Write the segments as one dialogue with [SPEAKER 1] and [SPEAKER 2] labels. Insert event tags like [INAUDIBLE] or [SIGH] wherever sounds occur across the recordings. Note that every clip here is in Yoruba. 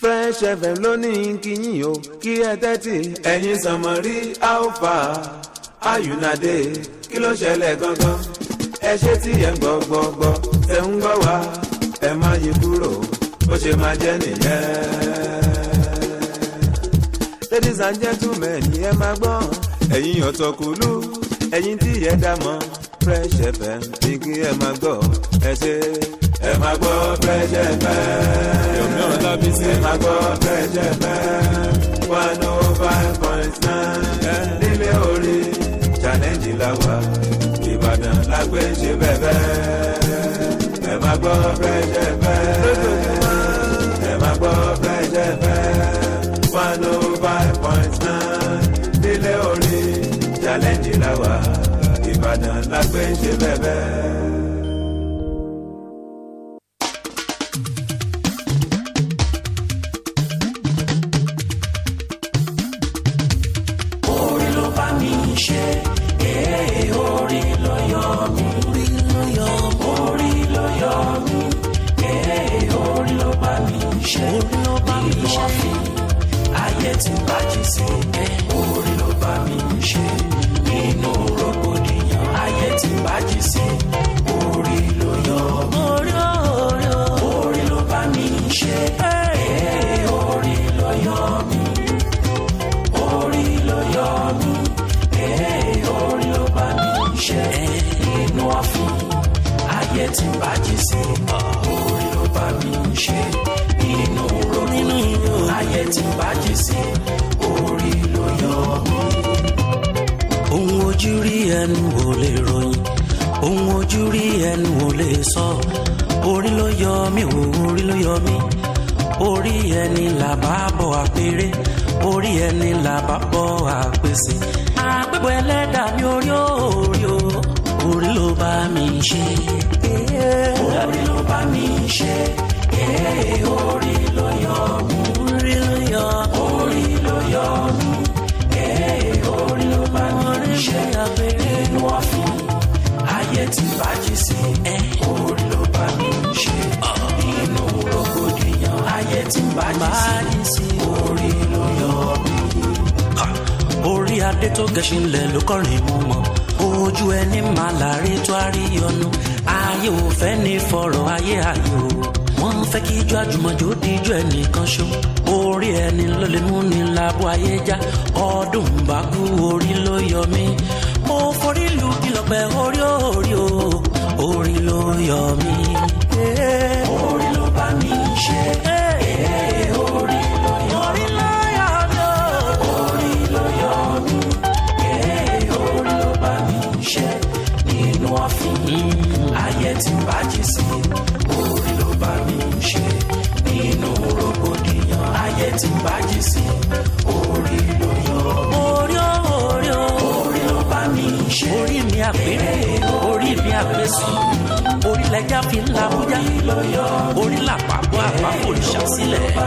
[SPEAKER 1] fresh fm lónìí kìyìn o kí ẹ tẹ́tì. ẹ̀yin sànmọ́ rí alpha ayunade kí ló ṣẹlẹ̀ gangan ẹ ṣe tí ẹ ń gbọ́ gbọ́ gbọ́ ẹ ń gbọ́ wá ẹ má yí kúrò bó ṣe máa jẹ́ nìyẹn ladies and gentlemen ẹ máa gbọ́ ẹ̀yin ọ̀tọ̀kùlú ẹ̀yin tí ẹ dá mọ̀ fresh fm ní kí ẹ máa gbọ́ ẹ ṣe. ẹ máa gbọ́ fresh fm yomi ọlábí sí. ẹ máa gbọ́ fresh fm one oh five point nine nílé orí challenge la wà ìbàdàn la gbé ṣe bẹ́ẹ̀ ẹ máa gbọ́ fresh fm lójoojúmọ́ ẹ máa gbọ́ fresh fm one oh five point nine nílé orí challenge la wà ìbàdàn la gbé ń ṣe bẹ́ẹ̀.
[SPEAKER 2] orin ló bá mi ṣe ee orin ló yọ mí orin ló yọ mí orin ló yọ mí ee orin ló bá mi ṣe orin ló bá mi ṣe ayé ti bàjẹ́ sí orin ló bá mi ṣe nínú rògbòdìyàn ayé ti bàjẹ́ sí orin ló yọ mí orin ló bá mi ṣe ee orin ló yọ mí orí ló yọ mí ee orí ló bá mi ṣe inú ọ̀fìn ayé ti bàjẹ́ sí orí ló bá mi ṣe inú rògbòdìyàn ayé ti bàjẹ́ sí orí ló yọ mí. ohun ojú rí ẹnu wò lè ròyìn ohun ojú rí ẹnu wò lè sọ orí ló yọ mí o orí ló yọ mí orí ẹni làbá bọ àpèrè orí ẹni làbá bọ àpèsè àpèpọ̀ ẹlẹ́dàá mi orí orí o orí ló bá mi ṣe orí ló bá mi ṣe ee orí ló yọ mí orí ló yọ orí ló yọ mí ee orí ló bá mi ṣe inú ọ̀fìn ayé ti bàjẹ́ sí orí ló bá mi ṣe inú rògbòdìyàn ayé ti bàjẹ́ sí orí ló yọ mí. orí adé tó gẹṣin lẹ̀ ló kọrin mú mọ́ ojú ẹni máa láre tó àríyànnú ayé ò fẹ́ ní fọ̀rọ̀ ayé ayé o wọ́n fẹ́ kí ijó àjùmọ̀jò díjú ẹnìkan ṣó orí ẹni ló lè mú ni lábú ayé já ọdún bá kú orí ló yọ mí mo forí lu ìlọ̀pẹ̀ orí orí o orí ló yọ mí. orí ló bá mi ṣe ee orí ló yọ mí orí ló yọ mí ee orí ló bá mi ṣe nínú ọ̀fìn ayé tí ń bàjẹ́ sí orí ló bá mi ṣe nínú rògbòdìyàn ayé tí ń bàjẹ́ sí orí ló yọ mí orí orí orí ló bá mi ṣe orí mi àpérè orí mi àpèsè orí lẹjà fi ń labújá orí làpapọ̀ àpapọ̀ ìṣàsílẹ̀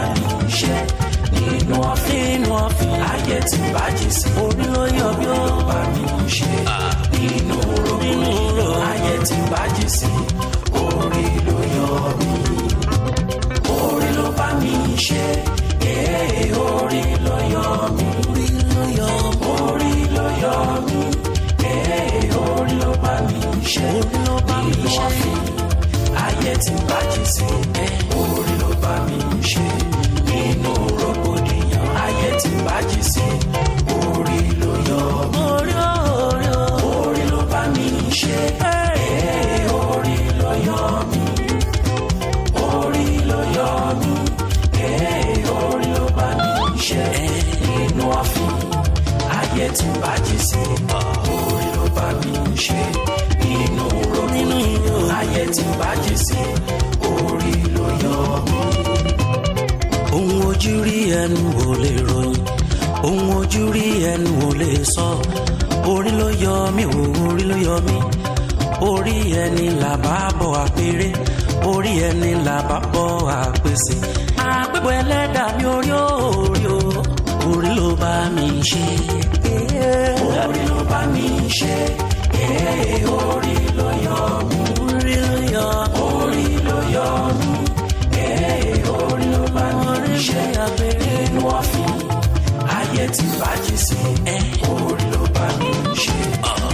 [SPEAKER 2] nínú ọ̀fìn nínú ọ̀fìn ayé ti bàjẹ́ sí orí ló yọ bí ó bá mi ṣe nínú rògbòdìyàn ayé ti bàjẹ́ sí orí ló yọ mí orí ló bá mi ṣe ee orí ló yọ mí orí ló yọ mí orí ló yọ mí ee orí ló bá mi ṣe orí ló bá mi ṣe ayé ti bàjẹ́ sí orí ló bá mi ṣe nínú rògbòdìyàn ayé ti bàjẹ́ sí orí ló yọ mí orí orí orí ló bá mi ṣe ee orí ló yọ mí orí ló yọ mí ee orí ló bá mi ṣe nínú ọ̀fìn ayé ti bàjẹ́ sí orí ló bá mi ṣe nínú rògbòdìyàn ayé ti bàjẹ́ sí orí ló yọ mí. ohun ojú rí ẹnu ò lè ròyìn ohun ojú rí ẹnu ò lè sọ orí ló yọ mí o orí ló yọ mí orí ẹni làbá bọ àpèrè orí ẹni làbá bọ àpèsè àpèpọ̀ ẹlẹ́dàá mi orí orí o orí ló bá mi ṣe orí ló bá mi ṣe ee orí ló yọ mí orí ló yọ orí ló yọ mí ee orí ló bá mi iṣẹ́ abẹ nínú ọ̀fìn ayé ti bàjẹ́ sí ẹ orí ló bá mi ṣe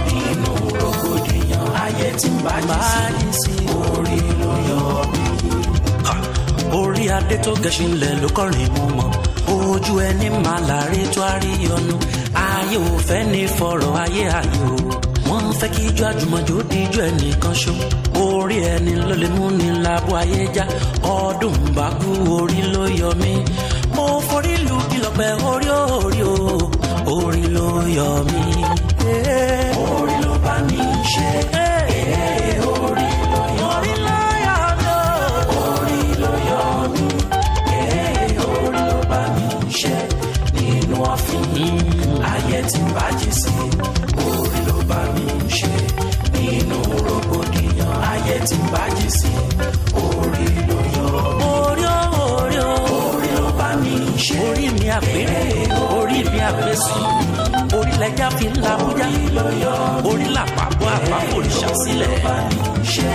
[SPEAKER 2] nínú rògbòdìyàn ayé ti bàjẹ́ sí orí ló yọ mí. orí adé tó gẹṣin lẹ ló kọrin mú mọ ojú ẹni máa láre tó a rí ọnu ayé ò fẹ́ ní fọ̀rọ̀ ayé ayé o wọ́n fẹ́ kí ijó àjùmọ̀jó di ijó ẹnìkan ṣó orí ẹni ló lè mú ni lábọ ayé já ọdún bá kú orí ló yọ mí mo forí lu kìlọ̀pẹ̀ orí orí o orí ló yọ mí. orí ló bá mi ṣe orí ló yọ mí orí ló yọ mí orí ló bá mi ṣe nínú ọ̀fìn ayé tí bàjẹ́ sí orí ló bá mi ṣe nínú rògbòdìyàn ayé tí bàjẹ́ sí orí ló yọ orí ó orí ó orí ló bá mi ṣe orí mi àpérè orí mi àpèsè orí lẹjà fi ń labújá orí làpapọ̀ àpapọ̀ òrìṣà sílẹ̀ orí ló bá mi ṣe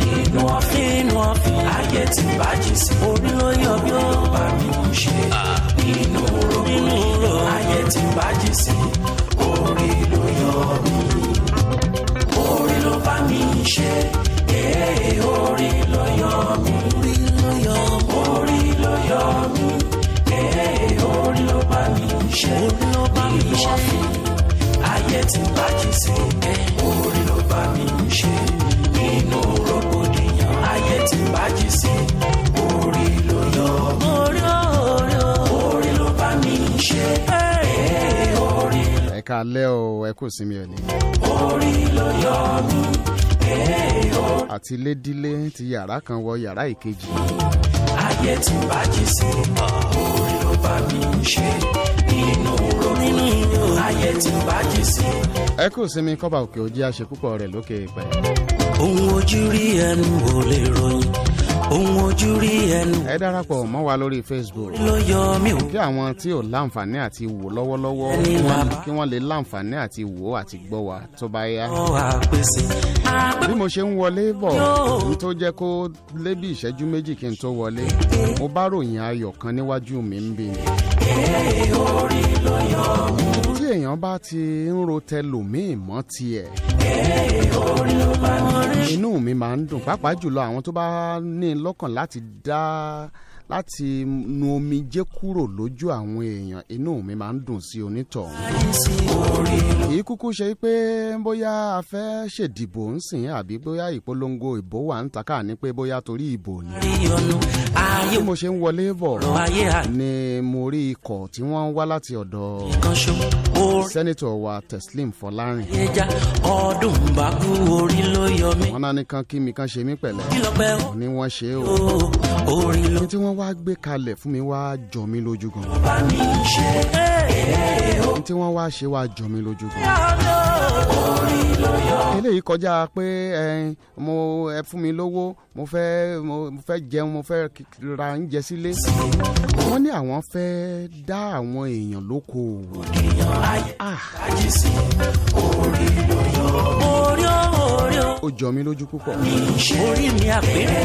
[SPEAKER 2] nínú ọ̀fìn nínú ọ̀fìn ayé ti bàjẹ́ sí orí ló yọ bí ó bá mi ṣe nínú oró nínú oró ayé ti bàjẹ́ sí orí ló yọ mí orí ló bá mi ṣe ee orí ló yọ mí orí ló yọ orí ló yọ mí ee orí ló bá mi ṣe orí ló bá mi ṣe ayé ti bàjẹ́ sí orí ló bá mi ṣe nínú rògbòdìyàn ayé ti bàjẹ́ sí orí ló yọ mí orí orí ló bá mi ṣe ee orí
[SPEAKER 3] ẹ káalẹ́ o ẹ kò sinmi òní
[SPEAKER 2] orí ló yọ mí ee orí
[SPEAKER 3] àti lédílé ti yàrá kan wọ yàrá ìkejì
[SPEAKER 2] ayé ti bàjẹ́ sí orí ló bá mi ṣe nínú rògbòdìyàn ayé ti bàjẹ́ sí.
[SPEAKER 3] ẹ kò sinmi kọ́ba òkè òjì àṣepúpọ̀ rẹ̀ lókè pẹ̀.
[SPEAKER 2] ohun ojú rí ẹnu ò lè ròyìn ohun ojú rí ẹnu
[SPEAKER 3] ẹ darapọ̀ mọ́ wa lórí facebook
[SPEAKER 2] ló yọ mí ò
[SPEAKER 3] kí àwọn tí ò láǹfààní àti wò lọ́wọ́lọ́wọ́
[SPEAKER 2] Ẹni
[SPEAKER 3] wọ́n-
[SPEAKER 2] bàbá.
[SPEAKER 3] kí wọ́n lè láǹfààní àti wò àti gbọ́ wa tó bá yá.
[SPEAKER 2] ọ àpèsè àpèsè
[SPEAKER 3] bí mo ṣe ń wọlé bọ̀ ohun tó jẹ́ kó lé bí ìṣẹ́jú méjì kí n tó wọlé mo bá ròyìn ayọ̀ kan níwájú mi ń bì ní. tí èèyàn bá ti ń ro tẹlòmíì mọ́ tiẹ̀ inú mi máa ń dùn pàápàá jùlọ àwọn tó bá ní i lọ́kàn láti dá láti nu omijé kúrò lójú àwọn èèyàn inú mi máa ń dùn sí onítọ̀hún kì í kúkú ṣe pé bóyá a fẹ́ ṣèdìbò ń sìn àbí bóyá ìpolongo ìbò wà ń taká ní pé bóyá torí ìbò ni.
[SPEAKER 2] rí ọnu ayé
[SPEAKER 3] bí mo ṣe ń wọlé bọ̀
[SPEAKER 2] ọ̀rọ̀ ayé àìkan
[SPEAKER 3] ni mo rí ikọ̀ tí wọ́n ń wá láti ọ̀dọ̀
[SPEAKER 2] ṣo orí
[SPEAKER 3] sẹ́nitọ̀ wa teslim fọlárin.
[SPEAKER 2] ẹja ọdún bá kú orí ló yọ mí
[SPEAKER 3] wọ́n náà ní kan kí mi kan ṣe mí pẹ̀lẹ́
[SPEAKER 2] kí lọ pẹ́ ó
[SPEAKER 3] ni wọ́n ṣe o.
[SPEAKER 2] orí ló
[SPEAKER 3] ohun tí wọ́n wá gbé kalẹ̀ fún mi wá jọ mí lójú gan.
[SPEAKER 2] bá mi ṣe
[SPEAKER 3] ohun tí wọ́n wá ṣe wá jọ mí lójú gan.
[SPEAKER 2] ọdún orí ló yọ
[SPEAKER 3] eléyìí kọjá pé ẹ, mo ẹ fún mi lówó mo fẹ́ mo mo fẹ́ jẹun mo fẹ́ k- ra oúnjẹ sílé. wọ́n ní àwọn fẹ́ dá àwọn èèyàn lókoòwò.
[SPEAKER 2] ayé sí orí ló yọ orí ó orí ó
[SPEAKER 3] ó jọ mí lójú púpọ̀.
[SPEAKER 2] mi ṣe orí mi àpérè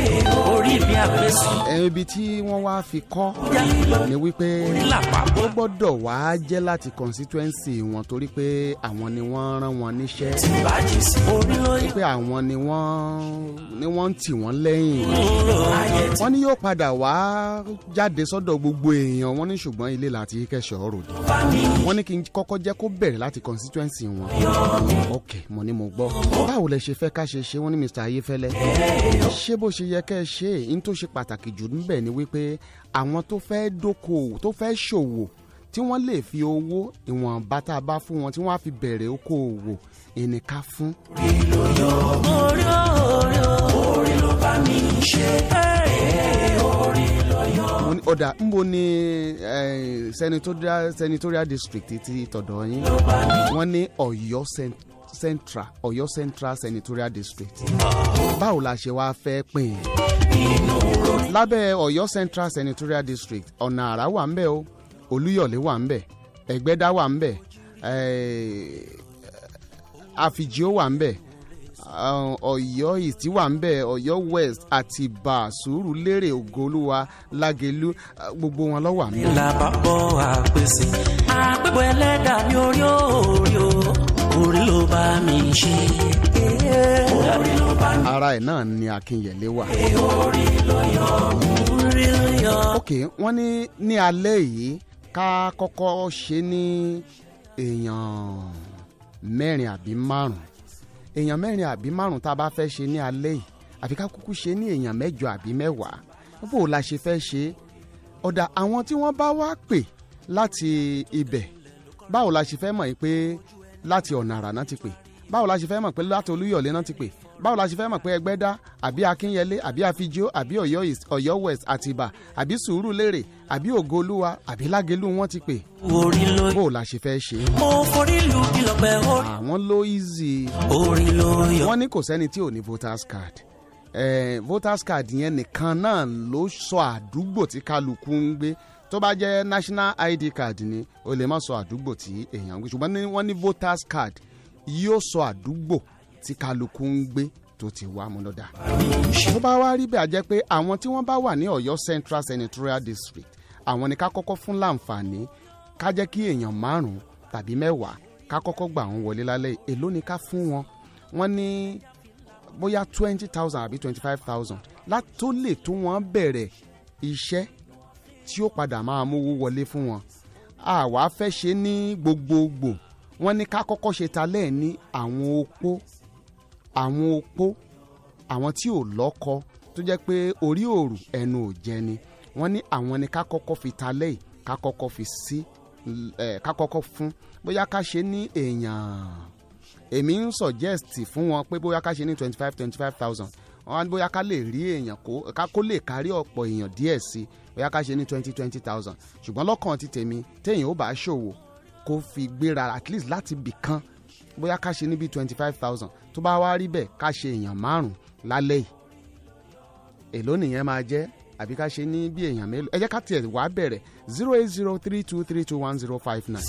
[SPEAKER 2] orí mi àpèsè
[SPEAKER 3] ẹ, ibi tí wọ́n wá fi kọ́
[SPEAKER 2] já lọ
[SPEAKER 3] ni wípé
[SPEAKER 2] lápapọ̀
[SPEAKER 3] ó gbọ́dọ̀ wá jẹ́ láti constituency wọn torí pé àwọn ni wọ́n rán wọn níṣẹ́
[SPEAKER 2] ti bàjẹ́ sí orí ló yọ
[SPEAKER 3] pé àwọn ni wọ́n ni wọ́n ń tì wọ́n lẹ́yìn.
[SPEAKER 2] ayé ti
[SPEAKER 3] wọ́n ní yóò padà wá jáde sọ́dọ̀ gbogbo èèyàn wọ́n ní ṣùgbọ́n ilé láti kẹ́sọ̀ ròdì.
[SPEAKER 2] bá mi
[SPEAKER 3] wọ́n ní kí n kọ́kọ́ jẹ́ kó bẹ̀rẹ̀ láti constituency wọn. ok mo ní mo gbọ́. báwo lẹ ṣe fẹ́ ká ṣe ṣe wọ́n ní mr ayéfẹ́lẹ́. ṣé bó ṣe yẹ kẹ́ ẹ ṣe é n tó ṣe pàtàkì jù níbẹ̀ ni wípé àwọn tó fẹ́ dókòwò tó fẹ́ ṣòwò tí wọ́n lè fi owó ìwọ̀nba tá a bá fún wọn tí wọ́n á fi bẹ̀rẹ̀ okòwò ìníká fún.
[SPEAKER 2] orí ó orí ó orí ló bá mi ṣe orí ló yọ
[SPEAKER 3] mo ní ọ̀dà ńbo ni eh, senatorial senatorial district ti tọ̀dọ̀ yín wọ́n ní ọ̀yọ́ cen- central ọ̀yọ́ central senatorial district báwo la ṣe wáá fẹ́ pín in lábẹ́ ọ̀yọ́ central senatorial district ọ̀nà àrà wà ń bẹ̀ o olúyọ̀lé wà ń bẹ̀ ẹ̀gbẹ́dá wà ń bẹ̀ eh, àfìjíò wà ń bẹ̀ um, Ọ̀yọ́ East wà ń bẹ Ọ̀yọ́ West Àtìbà Sùúrùlérè Ògolúwa Lágelú ah, gbogbo wọn ló wà ń bẹ.
[SPEAKER 2] ìlàbà bọ̀ àpèsè. àpẹ̀bọ̀ ẹlẹ́dà mi orí òòrí o orí ló bá mi ṣe. orí ló bá mi
[SPEAKER 3] ara ẹ̀ náà ni Akínyẹlé wà.
[SPEAKER 2] ṣe orí ló yọ mí. orí ló yọ
[SPEAKER 3] ok wọ́n ní ní alẹ́ yìí ká kọ́kọ́ ṣe ní èèyàn mẹ́rin àbí márùn èèyàn mẹ́rin àbí márùn tá a bá fẹ́ ṣe ní alẹ́ yìí àfi ká kúkú ṣe ní èèyàn mẹ́jọ àbí mẹ́wàá bó o la ṣe fẹ́ ṣe ọ̀dà àwọn tí wọ́n bá wá pè láti ibẹ̀ báwo la ṣe fẹ́ mọ̀ yìí pé láti ọ̀nà àrà náà ti pè báwo la ṣe fẹ́ mọ̀ pé láti olúyọ̀lé náà ti pè báwo la ṣe fẹ́ mọ̀ pé ẹgbẹ́dá àbí akínyẹlé àbí afijó àbí ọ̀yọ́ east ọ̀yọ́ west àtìbà àbí sùúrùlérè àbí ògoolúwa àbí lágelú wọn ti pè
[SPEAKER 2] orí ló yọ.
[SPEAKER 3] báwo la ṣe fẹ́ ṣe.
[SPEAKER 2] mo forí lu kìlọ̀pẹ̀ orí.
[SPEAKER 3] àwọn ló easy
[SPEAKER 2] orí ló yọ.
[SPEAKER 3] wọ́n ní kò sẹ́ni tí ò ní voters card eh, voters card yẹn nìkan náà ló sọ àdúgbò tí kálukú ń gbé tó bá jẹ́ national id card ni o lè má sọ àdúgbò tí èèyàn ń gbé ṣùgbọ́n ní- wọ́n ní voters card yóò sọ àdúgbò tí kálukú ń gbé tó ti wá múnádà. tó bá wá rí bẹ́ẹ̀ a jẹ́ pé àwọn tí wọ́n bá wà ní ọ̀yọ́ central senatorial district àwọn ni ká kọ́kọ́ fún láǹfààní ká jẹ́ kí èèyàn márùn-ún tàbí mẹ́wàá ká kọ́kọ́ gbà wọ́n wọlé lálẹ́ yìí. èló ni ká fún wọn wọ́n ní bóyá twenty thousand àbí twenty five thousand látó lè tó wọn bẹ̀rẹ̀ iṣẹ́ tí ó padà máa mówó wọlé fún wọn àwa fẹ́ ṣe ní gbogbogbò wọ́n ní ká kọ́kọ́ ṣe ta lẹ́ẹ̀ ní àwọn opó àwọn opó àwọn tí ò lọ́kọ tó jẹ́ pé orí òrù ẹnu ò jẹni wọ́n ní àwọn ni ká kọ́kọ́ fi ta lẹ́yìn ká kọ́kọ́ fi sí ẹ̀ ká kọ́kọ́ fún bóyá ká ṣe ní èèyàn èmi ń suggest fún wọn pé bóyá ká ṣe ní twenty five twenty five thousand wọ́n á ní bóyá ká lè rí èèyàn kó ká kó lè kárí ọ̀pọ̀ èèyàn díẹ̀ sí bóyá ká ṣe ní twenty twenty thousand ṣùgbọ́n lọ́kàn ti tèmi téèyàn ó bá ṣòwò kó fi gbéra at least láti bì kan bóyá ká ṣe níbi twenty five thousand tó bá wá rí bẹ́ẹ̀ ká ṣe èèyàn márùn-ún lálẹ́ yìí èló nìyẹn máa jẹ́ àbí ká ṣe ní bí èèyàn mélòó ẹ jẹ́ ká tiẹ̀ wá bẹ̀rẹ̀ zero eight zero three two three two one zero five nine.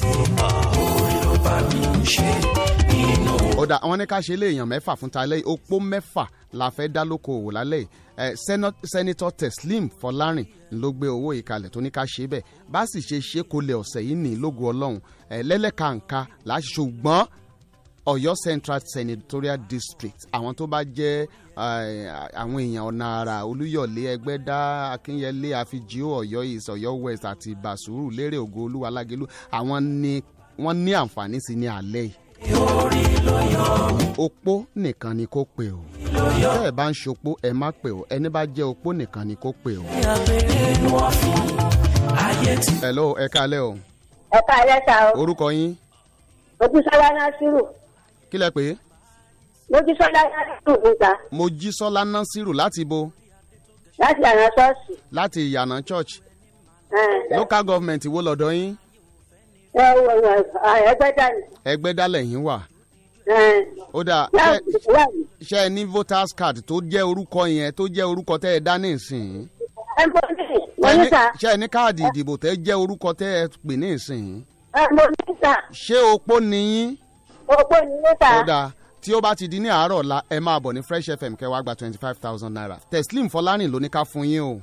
[SPEAKER 3] ọ̀dà àwọn ní ká ṣe lé èèyàn mẹ́fà fún ta lẹ́yìn opó mẹ́fà la fẹ́ dá lóko òwò lálẹ́ yìí Eh, Seno- Senator Teslim Fọlárìn ló gbé owó ìkalẹ̀ tó ní ká ṣe bẹ́ẹ̀ bá sì ṣe ṣe kó lè ọ̀sẹ̀ yìí ní lógo ọlọ́run Eh, lẹ́lẹ́kàǹkà láti ṣùgbọ́n Ọ̀yọ́ Central Senatorial District àwọn tó bá jẹ́ eh, àwọn èèyàn ọ̀nà àrà Olúyọ̀lé Ẹgbẹ́dá Akínyẹlé Àfijì Ọ̀yọ́ East Ọ̀yọ́ West àti Basuru Lérè Ògoolúwa Alágélú àwọn ni wọ́n ní àǹfààní sí ní alẹ́ yìí opó nìkan ni kó pè ó tẹ́ ẹ bá ń ṣopó ẹ má pè ó ẹni bá jẹ́ opó nìkan ni kó pè ó.
[SPEAKER 2] abẹ́rẹ́ inú ọ̀fìn ayé ti
[SPEAKER 3] hello ẹ kálẹ́ o
[SPEAKER 4] ẹ̀ka ẹlẹ́ta o
[SPEAKER 3] orúkọ yín
[SPEAKER 4] mojísọ́lá násírù
[SPEAKER 3] kí lẹ pé
[SPEAKER 4] mojísọ́lá násírù níta
[SPEAKER 3] mojísọ́lá nasiru láti bo
[SPEAKER 4] láti àná ṣọ́ọ̀ṣì
[SPEAKER 3] láti ìyànà church
[SPEAKER 4] ẹ̀,
[SPEAKER 3] local government wo lọ́dọ̀ yín
[SPEAKER 4] ẹ wọ ẹ, ẹgbẹ́ dání
[SPEAKER 3] ẹgbẹ́ dálẹ̀ yín wà
[SPEAKER 4] ẹ̀,
[SPEAKER 3] ó dà
[SPEAKER 4] láti wà ní
[SPEAKER 3] ṣe ẹ ní voters card tó jẹ́ orúkọ yẹn tó jẹ́ orúkọ tẹ́ ẹ dá ní ìsìn
[SPEAKER 4] ẹ̀ńbọ́nì mọ́nísà
[SPEAKER 3] ṣe ẹ ní káàdì ìdìbò tẹ́ jẹ́ orúkọ tẹ́ ẹ pè ní ìsìn
[SPEAKER 4] ẹ̀ńbọ́nísà
[SPEAKER 3] ṣé opó ni yín.
[SPEAKER 4] opó ni níta
[SPEAKER 5] Ah.
[SPEAKER 3] ó dáa tí ó bá ti di ní àárọ̀ ọ̀la ẹ máa bọ̀ ní fresh fm kẹ́ wá gba twenty five thousand naira teslim fọlárìn ló ní ká fún yín o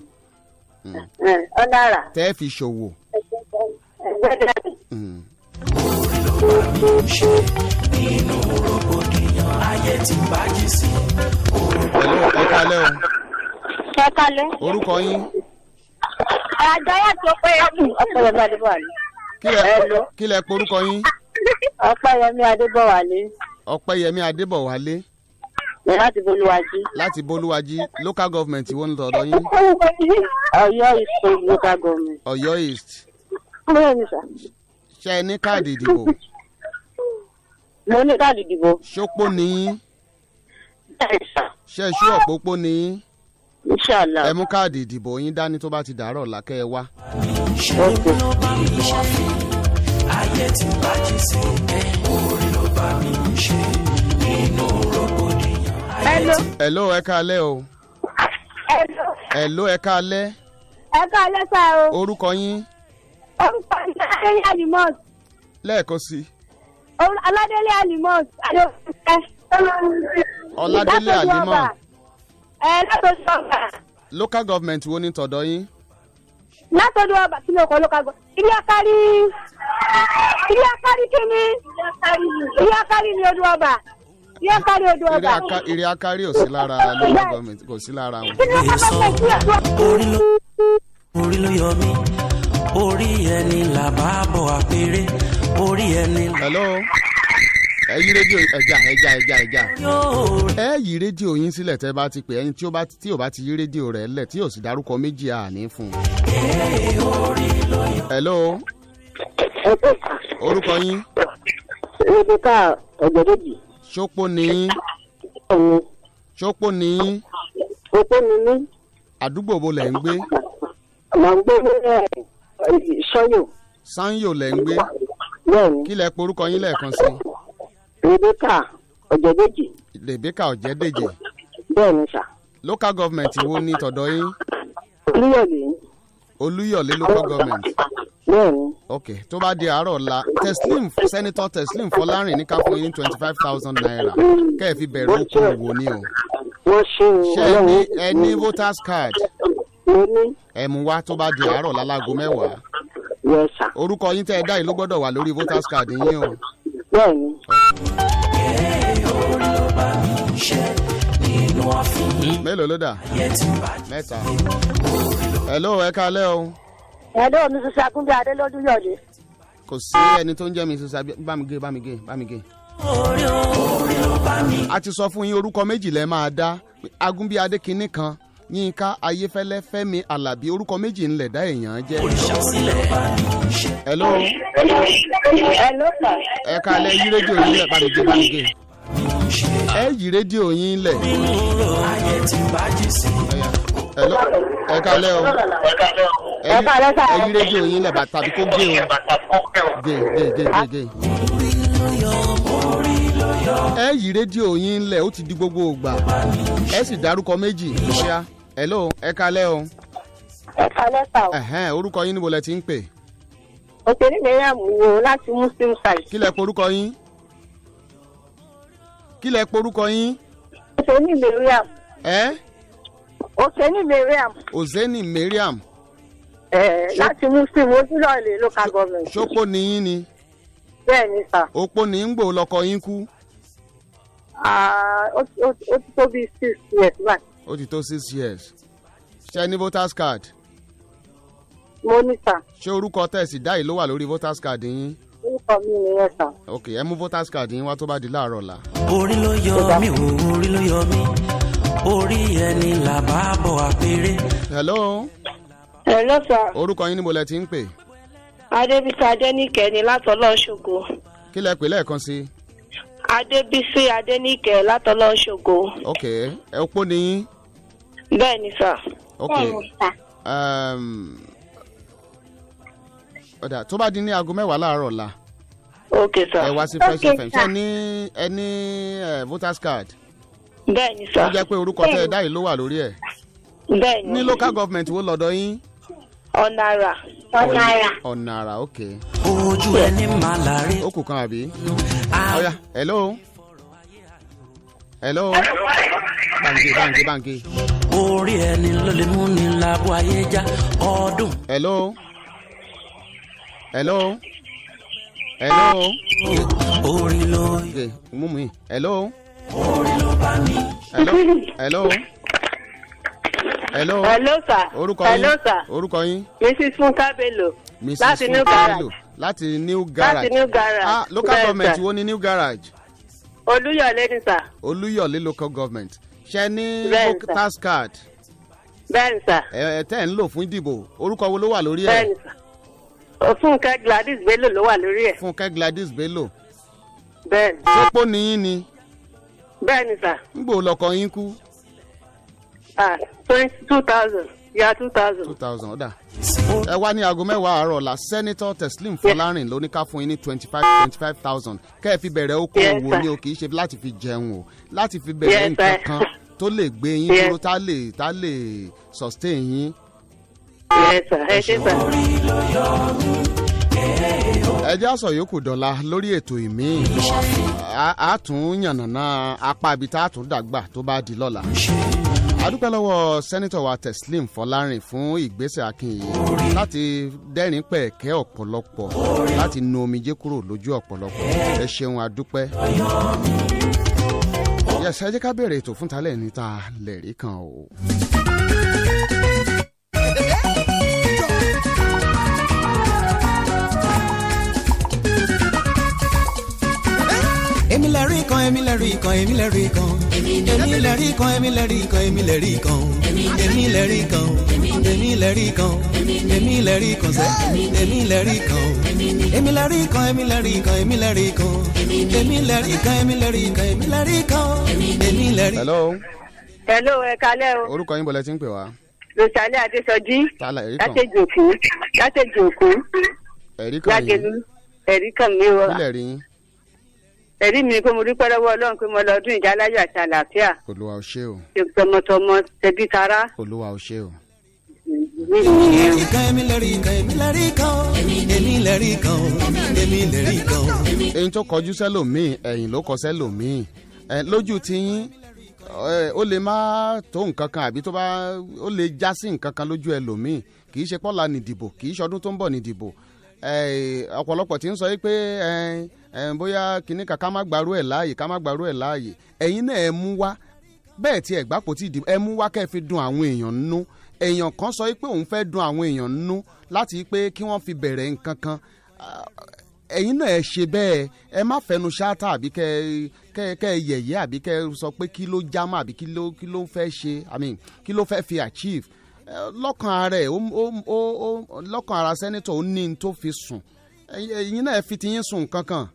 [SPEAKER 4] ẹ̀, ọ̀nàrà
[SPEAKER 3] tẹ́ ẹ fi ṣòwò.
[SPEAKER 4] ẹgbẹ́ dání
[SPEAKER 3] Mm.
[SPEAKER 2] ṣe inú rògbòdìyàn ayé ti bájì sí
[SPEAKER 3] hello ẹ kalẹ́ o
[SPEAKER 4] ẹ kalẹ́
[SPEAKER 3] orúkọ yín
[SPEAKER 4] àjọ yà tó pé ọ̀pẹ̀yẹmí adébọ̀wálé
[SPEAKER 3] kí lẹ
[SPEAKER 4] Hello.
[SPEAKER 3] kí lẹ pe orúkọ yín
[SPEAKER 4] ọ̀pẹ̀yẹmí adébọ̀wálé
[SPEAKER 3] ọpẹ́yẹmí adébọ̀wálé
[SPEAKER 4] láti bolúwájú
[SPEAKER 3] láti bolúwájí local government wo ń lọ́dọ̀ yín
[SPEAKER 4] ọ̀yọ́ ìṣòwò local government.
[SPEAKER 3] ọ̀yọ́ east
[SPEAKER 4] bẹ́ẹ̀ ni sà
[SPEAKER 3] ṣe ẹ ní káàdì ìdìbò
[SPEAKER 4] mo ní káàdì ìdìbò.
[SPEAKER 3] ṣopó ni yín
[SPEAKER 4] bẹ́ẹ̀ sà
[SPEAKER 3] ṣe ṣú ọ̀pópó ni yín
[SPEAKER 4] inṣàlá.
[SPEAKER 3] ẹ mú káàdì ìdìbò yín dání tó bá ti dàárọ̀ ọ̀la kẹ́ ẹ wá.
[SPEAKER 2] ṣe ló bá mi ṣe ayé ti bájì sí ẹ orí ló bá mi ṣe inú rògbòdìyàn ayé ti
[SPEAKER 3] hello ẹ kalẹ́ o
[SPEAKER 6] Hello.
[SPEAKER 3] hello ẹ kalẹ́
[SPEAKER 6] ẹ káalẹ́ sá o
[SPEAKER 3] orúkọ yín
[SPEAKER 6] orúkọ mi ni aládélé animus
[SPEAKER 3] lẹ́ẹ̀kan sí i.
[SPEAKER 6] aládélé animus adéwọ̀fẹ́
[SPEAKER 3] ọládélé
[SPEAKER 6] Látọjú
[SPEAKER 3] àlímọ
[SPEAKER 6] ọgbà. ẹ látọjú ọgbà
[SPEAKER 3] local government wo ní tọ̀dọ̀ yín
[SPEAKER 6] látọjú ọgbà kí ló kọ ló kagbọ ilé akari ilé akari kíni ilé akari ni odò ọgbà ilé akari odò
[SPEAKER 3] eré
[SPEAKER 6] ọgbà.
[SPEAKER 3] aka- eré akárí ò sí lára local government kò sí lára wọn.
[SPEAKER 6] kí ló kọ́ pẹ́pẹ́ sí ọ̀dọ́
[SPEAKER 2] orí ló orí ló yọ mí orí ẹni làbá bọ̀ àpèrè orí ẹni
[SPEAKER 3] hello ẹ yí rédíò ẹja ẹja ẹja ẹja
[SPEAKER 2] yóò
[SPEAKER 3] ẹ yí rédíò yín sílẹ̀ tẹ́ bá ti pè ẹni tí ó bá tí ò bá ti yí rédíò rẹ̀ lẹ̀ tí ò sì dárúkọ méjì àní fún un. hello orúkọ yín
[SPEAKER 7] rebeka ọgbẹdẹbi
[SPEAKER 3] ṣópó ni yín
[SPEAKER 7] ọhún
[SPEAKER 3] ṣópó ni yín
[SPEAKER 7] opó ni mí
[SPEAKER 3] àdúgbò wo lẹ̀ ń gbé
[SPEAKER 7] mà ń gbé ní ẹ, sọyò
[SPEAKER 3] sanyo lẹ̀ ń gbé
[SPEAKER 7] bẹ́ẹ̀ ni
[SPEAKER 3] kí lẹ pe orúkọ yín lẹ́ẹ̀kan sí
[SPEAKER 7] rebeka ọgbẹdẹbi
[SPEAKER 3] rebecca ọ̀jẹ̀dẹ̀jẹ̀
[SPEAKER 7] bẹ́ẹ̀ ni sà
[SPEAKER 3] local government wo ní tọ̀dọ̀ yín
[SPEAKER 7] olúyọ̀lé
[SPEAKER 3] olúyọ̀lé local government
[SPEAKER 7] bẹ́ẹ̀ ni
[SPEAKER 3] ok tó bá di àárọ̀ ọ̀la teslim senator teslim fọlárin ní ká fún yín twenty five thousand naira kẹ́ ẹ fi bẹ̀rẹ̀ oko òwò ni o
[SPEAKER 7] wọ́n ṣe
[SPEAKER 3] ṣé ẹ ní ẹ ní voters card
[SPEAKER 7] mo ní
[SPEAKER 3] ẹ mú wá tó bá di àárọ̀ ọ̀la láago mẹ́wàá
[SPEAKER 7] yẹ sà
[SPEAKER 3] orúkọ yín tẹ́ ẹ dá yìí ló gbọ́dọ̀ wà lórí voters card yín o
[SPEAKER 7] bẹ́ẹ̀ ni
[SPEAKER 3] mélòó ló dà mẹ́ta hello ẹ kalẹ́ o
[SPEAKER 6] ẹ̀dọ́ mi sísá kúndé adélọ́dún yọ̀dé.
[SPEAKER 3] kò sí ẹni tó ń jẹ́ mi sísá bámigé bámigé bámigé. a ti sọ fún yín orúkọ méjì lẹ máa dá agúnbí adékinní kan yínká ayéfẹ́lẹ́ fẹ́mi alábí orúkọ méjì ńlẹ̀ dá èèyàn jẹ́. hello
[SPEAKER 6] ẹ ló sà.
[SPEAKER 3] ẹ kalẹ̀ yí rédíò yín lẹ̀ bámigé bámigé. ẹ yí rédíò yín lẹ̀. Ẹyà. hello ẹ kalẹ̀ o ẹ yí-
[SPEAKER 6] kalẹ́ sà.
[SPEAKER 3] ẹ yí rédíò yín lẹ̀ bàtà tàbí kó gé o gé gé gé gé gé ẹ yí rédíò yín lẹ̀ ó ti di gbogbo ògbà ẹ sì dárúkọ méjì ṣíá hello ẹ kalẹ́ o
[SPEAKER 6] ẹ kalẹ́ sà o.
[SPEAKER 3] ẹ̀hẹ́n, orúkọ yín níbo lẹ ti ń pè
[SPEAKER 6] òṣèré mẹ́rìàm wo láti muslim side.
[SPEAKER 3] kí lẹ porúkọ yín kí lẹ porúkọ yín
[SPEAKER 6] òṣèré mẹ́rìàm
[SPEAKER 3] ẹ
[SPEAKER 6] òṣèré mẹ́rìàm
[SPEAKER 3] ozeni mariam
[SPEAKER 6] ẹ̀ láti muslim ojúlọ̀ọ̀lẹ̀ local government.
[SPEAKER 3] ṣópó ni yín ni
[SPEAKER 6] bẹ́ẹ̀ ni sà.
[SPEAKER 3] opó ni ń gbò lọkọ yín kú
[SPEAKER 6] Ah, ó ti- ó ti ó ti tó bíi six years báyìí.
[SPEAKER 3] ó ti tó six years ṣe ní voters card
[SPEAKER 6] mo ní sà
[SPEAKER 3] ṣé orúkọ tẹ̀sí dáì ló wà lórí voters card yín
[SPEAKER 6] orúkọ mi nìyẹn sà.
[SPEAKER 3] ok ẹ mú voters card yín wá tó bá di láàárọ̀ la
[SPEAKER 2] orí ló yọ mí wò orí ló yọ mí orí ẹni làbá bọ̀ àpèrè
[SPEAKER 3] hello
[SPEAKER 5] ẹ lọ́sà
[SPEAKER 3] orúkọ yín níbo lẹ ti ń pè
[SPEAKER 5] adébísí adẹ́nìkẹ́ ni látọlọ́ṣogo
[SPEAKER 3] kí lẹ pè lẹ́ẹ̀kan sí
[SPEAKER 5] adébísí adẹ́nìkẹ́ látọlọ́ṣogo
[SPEAKER 3] ok ẹ opó ni yín
[SPEAKER 5] bẹ́ẹ̀ ni sà
[SPEAKER 3] ok um, ọ̀dà tó bá di ní aago mẹ́wàá láàárọ̀ la
[SPEAKER 5] ókè sà
[SPEAKER 3] ẹ wá sí fresh fm ṣe ní ẹ ní eh, voters card
[SPEAKER 5] bẹ́ẹ̀ ni
[SPEAKER 3] ó
[SPEAKER 5] sà
[SPEAKER 3] jẹ́ pé orúkọ tẹ́ ẹ dáì ló wà lórí ẹ̀
[SPEAKER 5] bẹ́ẹ̀
[SPEAKER 3] ní
[SPEAKER 5] ni
[SPEAKER 3] local government wo lọ́dọ̀ yín
[SPEAKER 5] ọ̀nàrà
[SPEAKER 3] ọ̀nà àrà ok
[SPEAKER 2] ojú ẹni máa láre
[SPEAKER 3] ó kù kan àbí
[SPEAKER 2] á
[SPEAKER 3] ọ̀yà hello hello bàǹgì bàǹgì bàǹgì
[SPEAKER 2] orí ẹni ló lè mú ni lábọ ayé já ọdún
[SPEAKER 3] hello hello hello
[SPEAKER 2] orí ló
[SPEAKER 3] ok mú mi hello hello hello hello
[SPEAKER 5] ẹ lọ́sà
[SPEAKER 3] orúkọ
[SPEAKER 5] ẹ
[SPEAKER 3] yín
[SPEAKER 5] lọ́sà
[SPEAKER 3] orúkọ yín
[SPEAKER 5] mrs funka bello
[SPEAKER 3] mrs
[SPEAKER 5] Láti New
[SPEAKER 3] Funkelo,
[SPEAKER 5] Garage.
[SPEAKER 3] láti new garage
[SPEAKER 5] New Garage.
[SPEAKER 3] ah local
[SPEAKER 5] Bẹ́ẹ̀
[SPEAKER 3] government
[SPEAKER 5] sà.
[SPEAKER 3] wo ni new garage
[SPEAKER 5] olúyọ̀lé ni sà
[SPEAKER 3] olúyọ̀lé local government ṣe ní
[SPEAKER 5] Bẹ́ẹ̀ sà.
[SPEAKER 3] voters card
[SPEAKER 5] bẹ́ẹ̀ ni sà
[SPEAKER 3] ẹ ẹ tẹ́ ẹ̀ ń lò fún ìdìbò orúkọ wo ló wà lórí
[SPEAKER 5] bẹ́ẹ̀
[SPEAKER 3] ẹ̀
[SPEAKER 5] ni sà òfúnkẹ́ gladys bello ló wà lórí ẹ̀
[SPEAKER 3] fúnkẹ́ gladys bello
[SPEAKER 5] bẹ́ẹ̀ ni
[SPEAKER 3] sọ́pọ̀ nìyín ni
[SPEAKER 5] bẹ́ẹ̀ ni sà
[SPEAKER 3] ń gbò lọ́kọ yín kú
[SPEAKER 5] ah twenty two thousand ya two thousand
[SPEAKER 3] two thousand ọ̀dà ẹ wá ní aago mẹ́wàá àárọ̀ la senator teslim fọlárin ló ní ká fún yín ní twenty five twenty five thousand kẹ́ ẹ fi bẹ̀rẹ̀ oko
[SPEAKER 5] Yes,
[SPEAKER 3] òwò
[SPEAKER 5] sir.
[SPEAKER 3] ni o kì í ṣe láti fi jẹun o láti fi
[SPEAKER 5] Yes,
[SPEAKER 3] bẹ̀rẹ̀
[SPEAKER 5] sir.
[SPEAKER 3] nǹkan kan tó lè gbé yín
[SPEAKER 5] Yes.
[SPEAKER 3] dúró tá lè tá lè sustain yín
[SPEAKER 5] yẹ sà ẹ ṣe sà.
[SPEAKER 3] ẹjẹ́ àsọ yòókù dọ̀la lórí ètò ìmí àtún yànnàná apá ibi tá a tún dàgbà tó bá di lọ́la. adúpẹ́ lọ́wọ́ sẹ́nitọ̀ wa teslim fọlárin fún ìgbésẹ̀ akínyìn láti dẹ́rìn pẹ̀kẹ́ ọ̀pọ̀lọpọ̀ láti nu omijé kúrò lójú ọ̀pọ̀lọpọ̀ ẹ ṣeun adúpẹ́. yẹsẹ ẹ jẹ́ ká bẹ̀rẹ̀ ètò fún talẹ̀ níta lẹ̀rí kan o.
[SPEAKER 8] èmi lè rí kan èmi lè rí kan èmi lè rí kan èmi lè rí kan èmi lè rí kan èmi lè rí kan èmi lè rí kan èmi lè rí kan èmi lè rí kan sẹ èmi lè rí kan èmi lè rí kan èmi lè rí kan èmi lè rí kan èmi lè rí kan èmi lè rí kan èmi lè rí kan èmi lè rí.
[SPEAKER 3] hello
[SPEAKER 5] Hello, ẹ kalẹ́ o.
[SPEAKER 3] orúkọ yín bọ̀lẹ́ tí ń pè wá
[SPEAKER 5] Rosale Adesoji.
[SPEAKER 3] ta lẹ̀rí kan
[SPEAKER 5] Látẹ̀jì òkú. Látẹ̀jì òkú.
[SPEAKER 3] ẹ̀rí kan
[SPEAKER 5] Jágẹ̀lú.
[SPEAKER 3] yìí
[SPEAKER 5] Ẹ̀rí kan mi o.
[SPEAKER 3] kílẹ̀ rí yín
[SPEAKER 5] Ẹ̀rí mi ni pé mo dúpẹ́ lọ́wọ́ Ọlọ́run pé mo lọ ọdún ìjà aláyọ̀ àti àlàáfíà.
[SPEAKER 3] olúwa ò ṣe o
[SPEAKER 5] Ṣé tọmọtọmọ tẹbí tará?
[SPEAKER 3] olúwa ò ṣe o.
[SPEAKER 5] Mi ò ní ẹ̀rù.
[SPEAKER 8] èmi lè rí kan èmi lè rí kan èmi lè rí kan èmi lè rí kan.
[SPEAKER 3] eyín tó kọjú sẹ́lòmíì ẹ̀yìn ló kọ sẹ́lòmíì ẹ̀, lójú tiyín ẹ̀, ó lè má tó nǹkan kan àbí tó bá ó lè já sí nǹkan kan lójú ẹlòmíì kì í ṣe pọ́lá nìdìbò kì í ṣọdún tó ń bọ̀ nìdìbò ẹ̀, ọ̀pọ̀lọpọ̀ tí ń sọ yìí pé ẹ̀, ẹ̀, bóyá kìíní kan ká má gbarú ẹ̀ láàyè ká má gbarú ẹ̀ láàyè ẹ̀yin náà ẹ mú wá bẹ́ẹ̀ tí ẹ̀gbá kò tí ì dìbò ẹ mú wá kẹ́ ẹ fi dun àwọn èèyàn nínú èèyàn kan sọ pé òun fẹ́ dun àwọn èèyàn nínú láti pé kí wọ́n fi bẹ̀rẹ̀ nǹkan kan Ah, ẹ̀yin náà ẹ ṣe bẹ́ẹ̀ ẹ má fẹnu ṣáátà àbí kẹ kẹ kẹ ẹ yẹ̀yẹ́ àbí kẹ ẹ sọ pé kí ló já mọ́ àbí kí ló kí ló fẹ́ ṣe i mean kí ló fẹ́ fi achieve Eh, lọ́kàn ara ẹ̀ ó ó ó lọ́kàn ara sẹ́nitọ̀ ó ní n tó fi sùn Ẹ̀yin- ẹ̀yin náà ẹ fi tiyín sùn kankan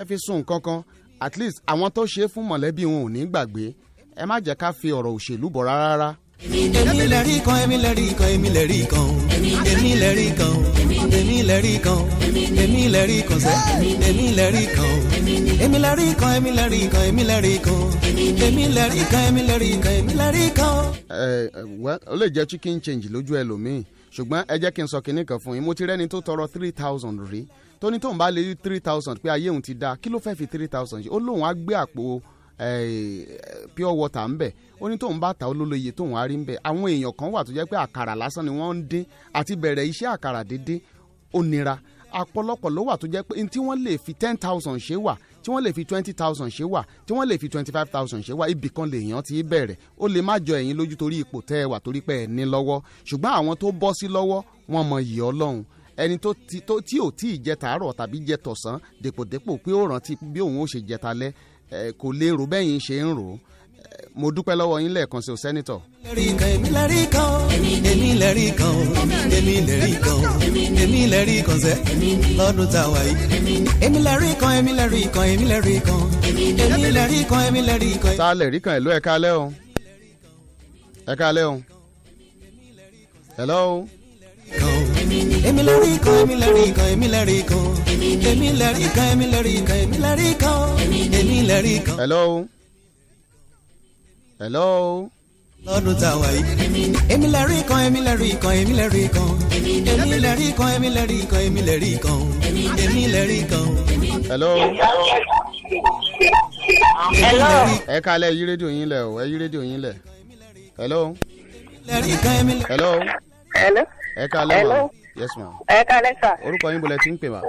[SPEAKER 3] ẹ fi sùn kankan at least àwọn tó ṣe é fún mọ̀lẹ́bí wọn ò ní gbàgbé ẹ má jẹ́ ká fi ọ̀rọ̀ òṣèlú bọ̀ rárá.
[SPEAKER 8] èmi lè rí kan èmi lè rí kan èmi lè rí kan èmi lè rí kan èmi lè rí kan èmi lè rí kan sẹ èmi lè rí kan èmi lè rí kan èmi lè rí kan èmi lè rí kan èmi lè rí kan èmi lè rí kan èmi lè rí kan.
[SPEAKER 3] ẹ ẹ, Eh, well, ó lè jẹ́ chicken change lójú ẹlòmíì ṣùgbọ́n ẹ jẹ́ kí n sọ kinní kan fún yín mo ti rẹ́ni tó tọrọ three thousand rí tó ní tóun bá lè rí three thousand pé ayé òun ti dáa kí ló fẹ́ fi three thousand ṣe ó lóun á gbé àpò eh, pure water ń bẹ̀ ó ní tóun bá ta olólo iye tóun á rí ń bẹ̀ àwọn èèyàn kan wà tó jẹ́ pé àkàrà lásán ni wọ́n ń dín àti bẹ̀rẹ̀ iṣẹ́ àkàrà déédéé ó nira àpọ̀lọpọ̀ ló wà tó jẹ́ pé tí wọ́n lè fi ten thousand ṣe wà tí wọ́n lè fi twenty thousand ṣe wà tí wọ́n lè fi twenty five thousand ṣe wà ibì kan lèèyàn ti bẹ̀rẹ̀ ó lè má jọ ẹ̀yin lójú torí ipò tẹ́ ẹ wà torí pé ẹ ní lọ́wọ́ ṣùgbọ́n àwọn tó bọ́ sí lọ́wọ́ wọn mọ iyì ọlọ́run ẹni tó ti tó tí ò tí ì jẹ tàárọ̀ tàbí jẹ tọ̀sán dèpòdépò pé ó rántí bí òun ó ṣe jẹ talẹ́ ẹ, kò lè rò bẹ́yìn ṣe ń rò ó Ẹ, mo dúpẹ́ lọ́wọ́ yín lẹ́ẹ̀kan sí o sẹ́nitọ̀
[SPEAKER 8] èmi lè rí kan èmi lè rí kan èmi lè rí kan èmi lè rí kan sẹ lọ́dún tá a wà yìí. èmi lè rí kan èmi lè rí kan èmi lè rí kan èmi lè rí kan èmi lè rí kan.
[SPEAKER 3] ta lè rí kan ìlú ẹ̀ka alẹ́ o ẹ̀ka alẹ́ o hello.
[SPEAKER 8] èmi lè rí kan èmi lè rí kan èmi lè rí kan èmi lè rí kan èmi lè rí kan èmi lè rí kan èmi lè rí kan
[SPEAKER 3] hello hello
[SPEAKER 8] lọ́dún tá a wà yìí. èmi lè rí kan èmi lè rí kan èmi lè rí kan èmi lè rí kan èmi lè rí kan èmi lè rí kan èmi lè rí kan.
[SPEAKER 3] hello
[SPEAKER 4] Hello.
[SPEAKER 3] ẹ kalẹ yí rédíò yín lẹ o ẹ yí rédíò yín lẹ hello
[SPEAKER 8] èmi lè rí kan èmi lè
[SPEAKER 3] hello
[SPEAKER 5] Hello.
[SPEAKER 3] ẹ kalẹ ma
[SPEAKER 5] Hello.
[SPEAKER 3] yes ma
[SPEAKER 5] Ẹ kalẹ́ sà.
[SPEAKER 3] orúkọ yín bọlẹ tí ń pè wá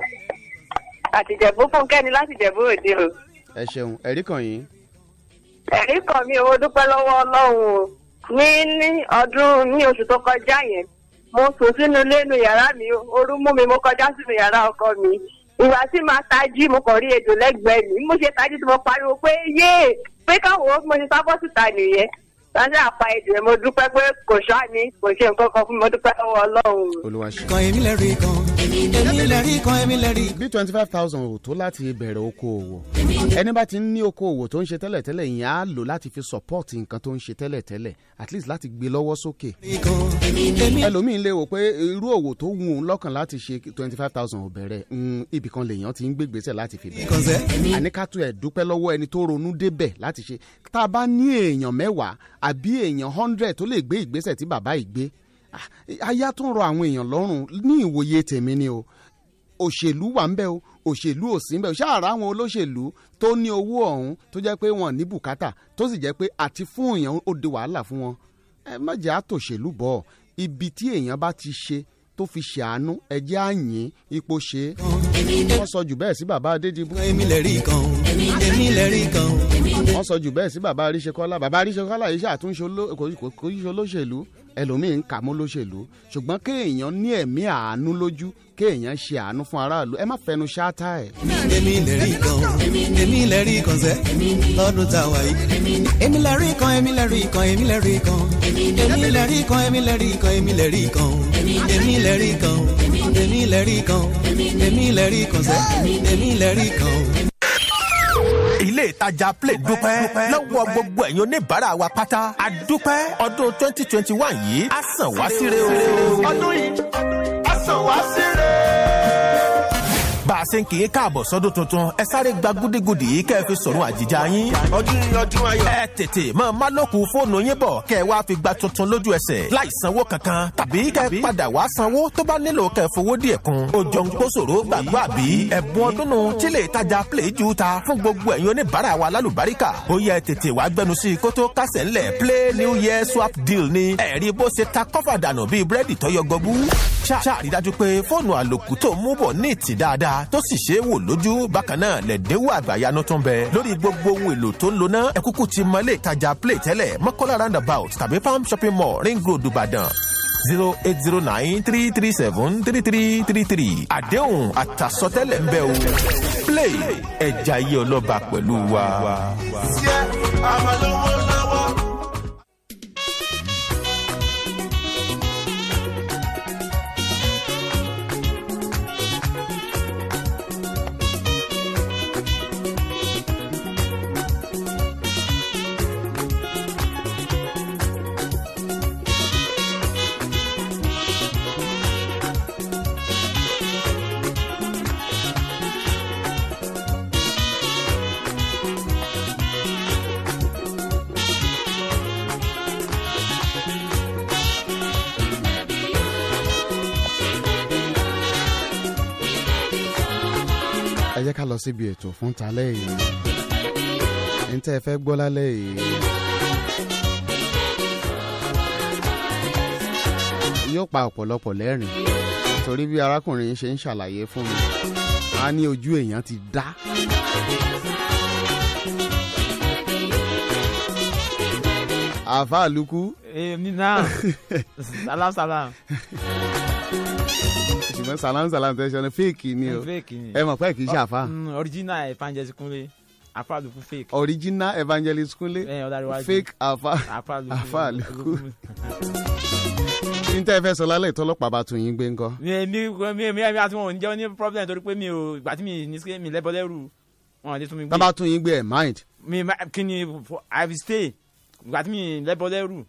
[SPEAKER 5] Àtìjẹ̀bú Fúnkẹ́ni láti Jẹ̀bú òde o.
[SPEAKER 3] ẹ ṣeun ẹrí kan yín
[SPEAKER 5] Ẹ̀rí kan mi ò dúpẹ́ lọ́wọ́ Ọlọ́run o. Ní ní ọdún ní oṣù tó kọjá yẹn, mo sùn sínú ilé inú yàrá mi, o. ooru mú mi, mo kọjá sínú yàrá ọkọ mi. Ìgbà tí màá tají, mo kàn rí ejò lẹ́gbẹ̀ẹ́ mi. Mo ṣe tají tí mo pariwo pé yéè pé káwọn ó mo ṣe sábọ́ síta nìyẹn. Sáré àpá ejò yẹn, mo dúpẹ́ pé kò ṣáà mi, kò ṣe nǹkan kan fún mi, mo dúpẹ́ lọ́wọ́ Ọlọ́run o.
[SPEAKER 3] olúwa ṣe.
[SPEAKER 8] kan èmi lè rí kan èmi lè rí kan èmi lè rí
[SPEAKER 3] bí twenty five thousand ò tó láti bẹ̀rẹ̀ okoòwò ẹni bá ti ń ní okoòwò tó ń ṣe tẹ́lẹ̀tẹ́lẹ̀ yẹn á lò láti fi support nǹkan tó ń ṣe tẹ́lẹ̀tẹ́lẹ̀ at least láti gbé lọ́wọ́ sókè
[SPEAKER 8] kan èmi
[SPEAKER 3] ẹlòmíín lè wò pé irú òwò tó wù ú lọ́kàn láti ṣe twenty five thousand ò bẹ̀rẹ̀ mm, ibìkan lèèyàn ti ń gbégbèsè láti fi bẹ̀rẹ̀
[SPEAKER 8] kan sẹ.
[SPEAKER 3] àní ká tún ẹ̀ dúpẹ́ lọ́wọ́ ẹni tó ronú débẹ̀ láti ṣe tá a bá ní èèyàn mẹ́wàá àbí èèyàn hundred tó lè gbé ìgbésẹ̀ tí bàbá yìí gbé ah, aya tó ń rọ àwọn èèyàn lọ́rùn ní ìwòye tèmi ni o òṣèlú wà ń bẹ o òṣèlú ò sí ń bẹ o ṣáàrà àwọn olóṣèlú tó ní owó ọ̀hún tó jẹ́ pé wọn ní bùkátà tó sì jẹ́ pé àti fún èèyàn ó di wàhálà fún wọn ẹ má jẹ́ àtòṣèlú bọ̀ ibi tí èèyàn bá ti ṣe tó fi ṣàánú ẹ jẹ́ àyìn ipò ṣe é wọ́n sọ jù bẹ́ẹ̀ sí bàbá adédìbò
[SPEAKER 8] èmi lè rí kan èmi lè rí kan
[SPEAKER 3] wọ́n sọ jù bẹ́ẹ̀ sí bàbá àríṣekọ́lá bàbá àríṣekọ́lá yìí ṣàtúnṣe oló- kò- kò- kò yíṣe olóṣèlú ẹlòmíín kà mọ́ olóṣèlú ṣùgbọ́n kéèyàn ní ẹ̀mí àánú lójú kéèyàn ṣe àánú fún aráàlú ẹ má fẹnu ṣáátá ẹ̀.
[SPEAKER 8] èmi lè rí kan èmi lè rí kan sẹ́ lọ́dún tá a wà yìí. èmi lè rí kan èmi lè rí kan èmi lè rí kan èmi lè rí kan èmi lè rí kan èmi lè rí kan èmi lè rí kan èmi lè rí kan èmi lè rí kan sẹ́ èmi lè rí kan.
[SPEAKER 9] ilé ìtajà play dúpẹ́ lọ́wọ́ gbogbo ẹ̀yin oníbàárà wa pátá a dúpẹ́ ọdún twenty twenty one yìí a sàn wá síre o. ọdún yìí a sàn wá síre. bá a ṣe ń kì í káàbọ̀ sọ́dún tuntun ẹ sáré gba gúdígudì yìí kẹ́ ẹ fi sọ̀rọ̀ àjìjà yín. ọdún ọdún ayọ̀. ẹ tètè máa má lókun fóònù yín bọ̀ kẹ́ ẹ wá fi gba tuntun lójú ẹsẹ̀ láì sanwó kankan tàbí kẹ́ ẹ padà wá sanwó tó bá nílò kẹ́ ẹ fowó díẹ̀ kun. ó jọ ń kó ṣòro gbàgbọ́ àbí. ẹ̀bùn ọdún nù tí lè tajà play ju ta fún gbogbo ẹ̀yin oníbàárà wa lálùbáríkà. ó yẹ tètè wá gbẹnu sí i kó tó kásẹ̀ ńlẹ̀ play new year swap deal ni. ẹ̀rí bó ṣe ta kọ́fà dànù bíi búrẹ́dì tọ́yọ gọbú. ṣá- ṣá rí dájú pé fóònù àlòkù tó mú bọ̀ ní ìtì dáadáa tó sì ṣe é wò lójú bákan náà lẹ̀dínwó àgbàyanu tó ń bẹ lórí gbogbo ohun èlò tó ń lo náà ẹ̀kúkú ti mọ ilé ìtajà play tẹ́lẹ̀ mọ́kànlá roundabout tàbí palm shopping mall ring road ìbàdàn zero eight zero nine three three seven three three three three àdéhùn àtàsọtẹ́lẹ̀ ń bẹ o play ẹja iye ọlọ́ba pẹ̀lú wa.
[SPEAKER 3] ẹ jẹ́ ká lọ síbi ètò fún talẹ́ yìí ẹni tẹ́ ẹ fẹ́ gbọ́ lálẹ́ yìí. yóò pa ọ̀pọ̀lọpọ̀ lẹ́rìn torí bí arákùnrin yìí ṣe ń ṣàlàyé fún mi a ní ojú èèyàn ti dá. àfa àlùkù
[SPEAKER 10] èmi
[SPEAKER 3] [LAUGHS]
[SPEAKER 10] náà salam salam
[SPEAKER 3] ṣùgbọ́n salam salam tẹ̀ ṣe ọ̀nà fèèkì ni o
[SPEAKER 10] fake ni
[SPEAKER 3] ẹ mọ̀ pé kì í ṣe àfa
[SPEAKER 10] Mm, original evangelist kunle afaaluku fake
[SPEAKER 3] original evangelist kúnlé
[SPEAKER 10] ẹ ọ̀dàríwájú
[SPEAKER 3] fake àfa Àfáà Àlùkù. ní tẹ́ ẹ fẹ́ sọ lálẹ́ ìtọ́lọ́pàá bá tún yín gbé ńkọ́.
[SPEAKER 10] mi mi mi mi mi àti wọn ò ní jẹ́ ní problem torí pé mi ò ìgbà tí mi ní sí mi lẹ́bọ lẹ́rù wọn ò lè tún mi
[SPEAKER 3] tá
[SPEAKER 10] gbé
[SPEAKER 3] bá tún yín gbé ẹ̀ mind.
[SPEAKER 10] mi ma- kí ni for- i will stay ìgbà tí mi lẹ́bọ lẹ́rù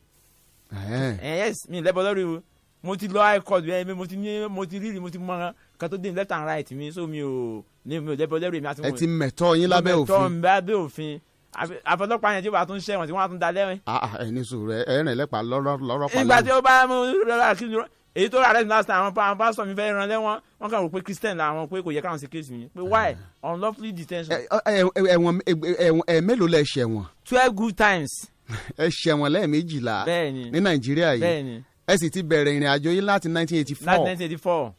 [SPEAKER 3] Ẹ̀hẹ́n.
[SPEAKER 10] ẹ yes mi lẹ́bọ lẹ́rù o. mo ti lọ high court bẹ́ẹ̀ mi- mo ti ní mo ti rírì mo ti mọ kan tó dé left and right mi so mi ò ní mi ò lẹ́bọ lẹ́rù mi àti
[SPEAKER 3] ẹ
[SPEAKER 10] wọn.
[SPEAKER 3] ti mẹ̀tọ́ yín lábẹ́
[SPEAKER 10] tọ́
[SPEAKER 3] òfin.
[SPEAKER 10] ń bá bẹ́ òfin Àfi- àfọlọ́pàá yẹn tí wàá tún ṣẹ̀wọ̀n tí wọ́n á tún da lẹ́wọ̀n.
[SPEAKER 3] Ah, ah, ẹ ní sùúrù ẹ ẹ rìn lẹ́pàá lọ́rọ́ lọ́rọ́ pa
[SPEAKER 10] ìgbà tí
[SPEAKER 3] lánàá.
[SPEAKER 10] ó bá mú rẹ́rà kí ni èyí tó rà rẹ́ last time àwọn pa- àwọn pásítọ̀ mi fẹ́ ran lẹ́wọ̀n wọ́n kàn rò pé christian làwọn pé kò yẹ káwọn ṣe kéésì mi
[SPEAKER 3] Ah.
[SPEAKER 10] pé why unlawfully
[SPEAKER 3] Ẹ,
[SPEAKER 10] detention
[SPEAKER 3] ọ, ẹ, ẹ, ẹ̀wọ̀n ẹ, ẹ̀wọ̀n ẹ mélòó lẹ ṣẹ̀wọ̀n
[SPEAKER 10] twelve good times
[SPEAKER 3] ẹ ṣẹ̀wọ̀n lẹ́ẹ̀mejìlá
[SPEAKER 10] Bẹ́ẹ̀ni.
[SPEAKER 3] ní nàìjíríà yìí
[SPEAKER 10] bẹ́ẹ̀ni
[SPEAKER 3] ẹ sì ti bẹ̀rẹ̀ ìrìn àjò yín láti
[SPEAKER 10] láti
[SPEAKER 3] 1984
[SPEAKER 10] nineteen eighty four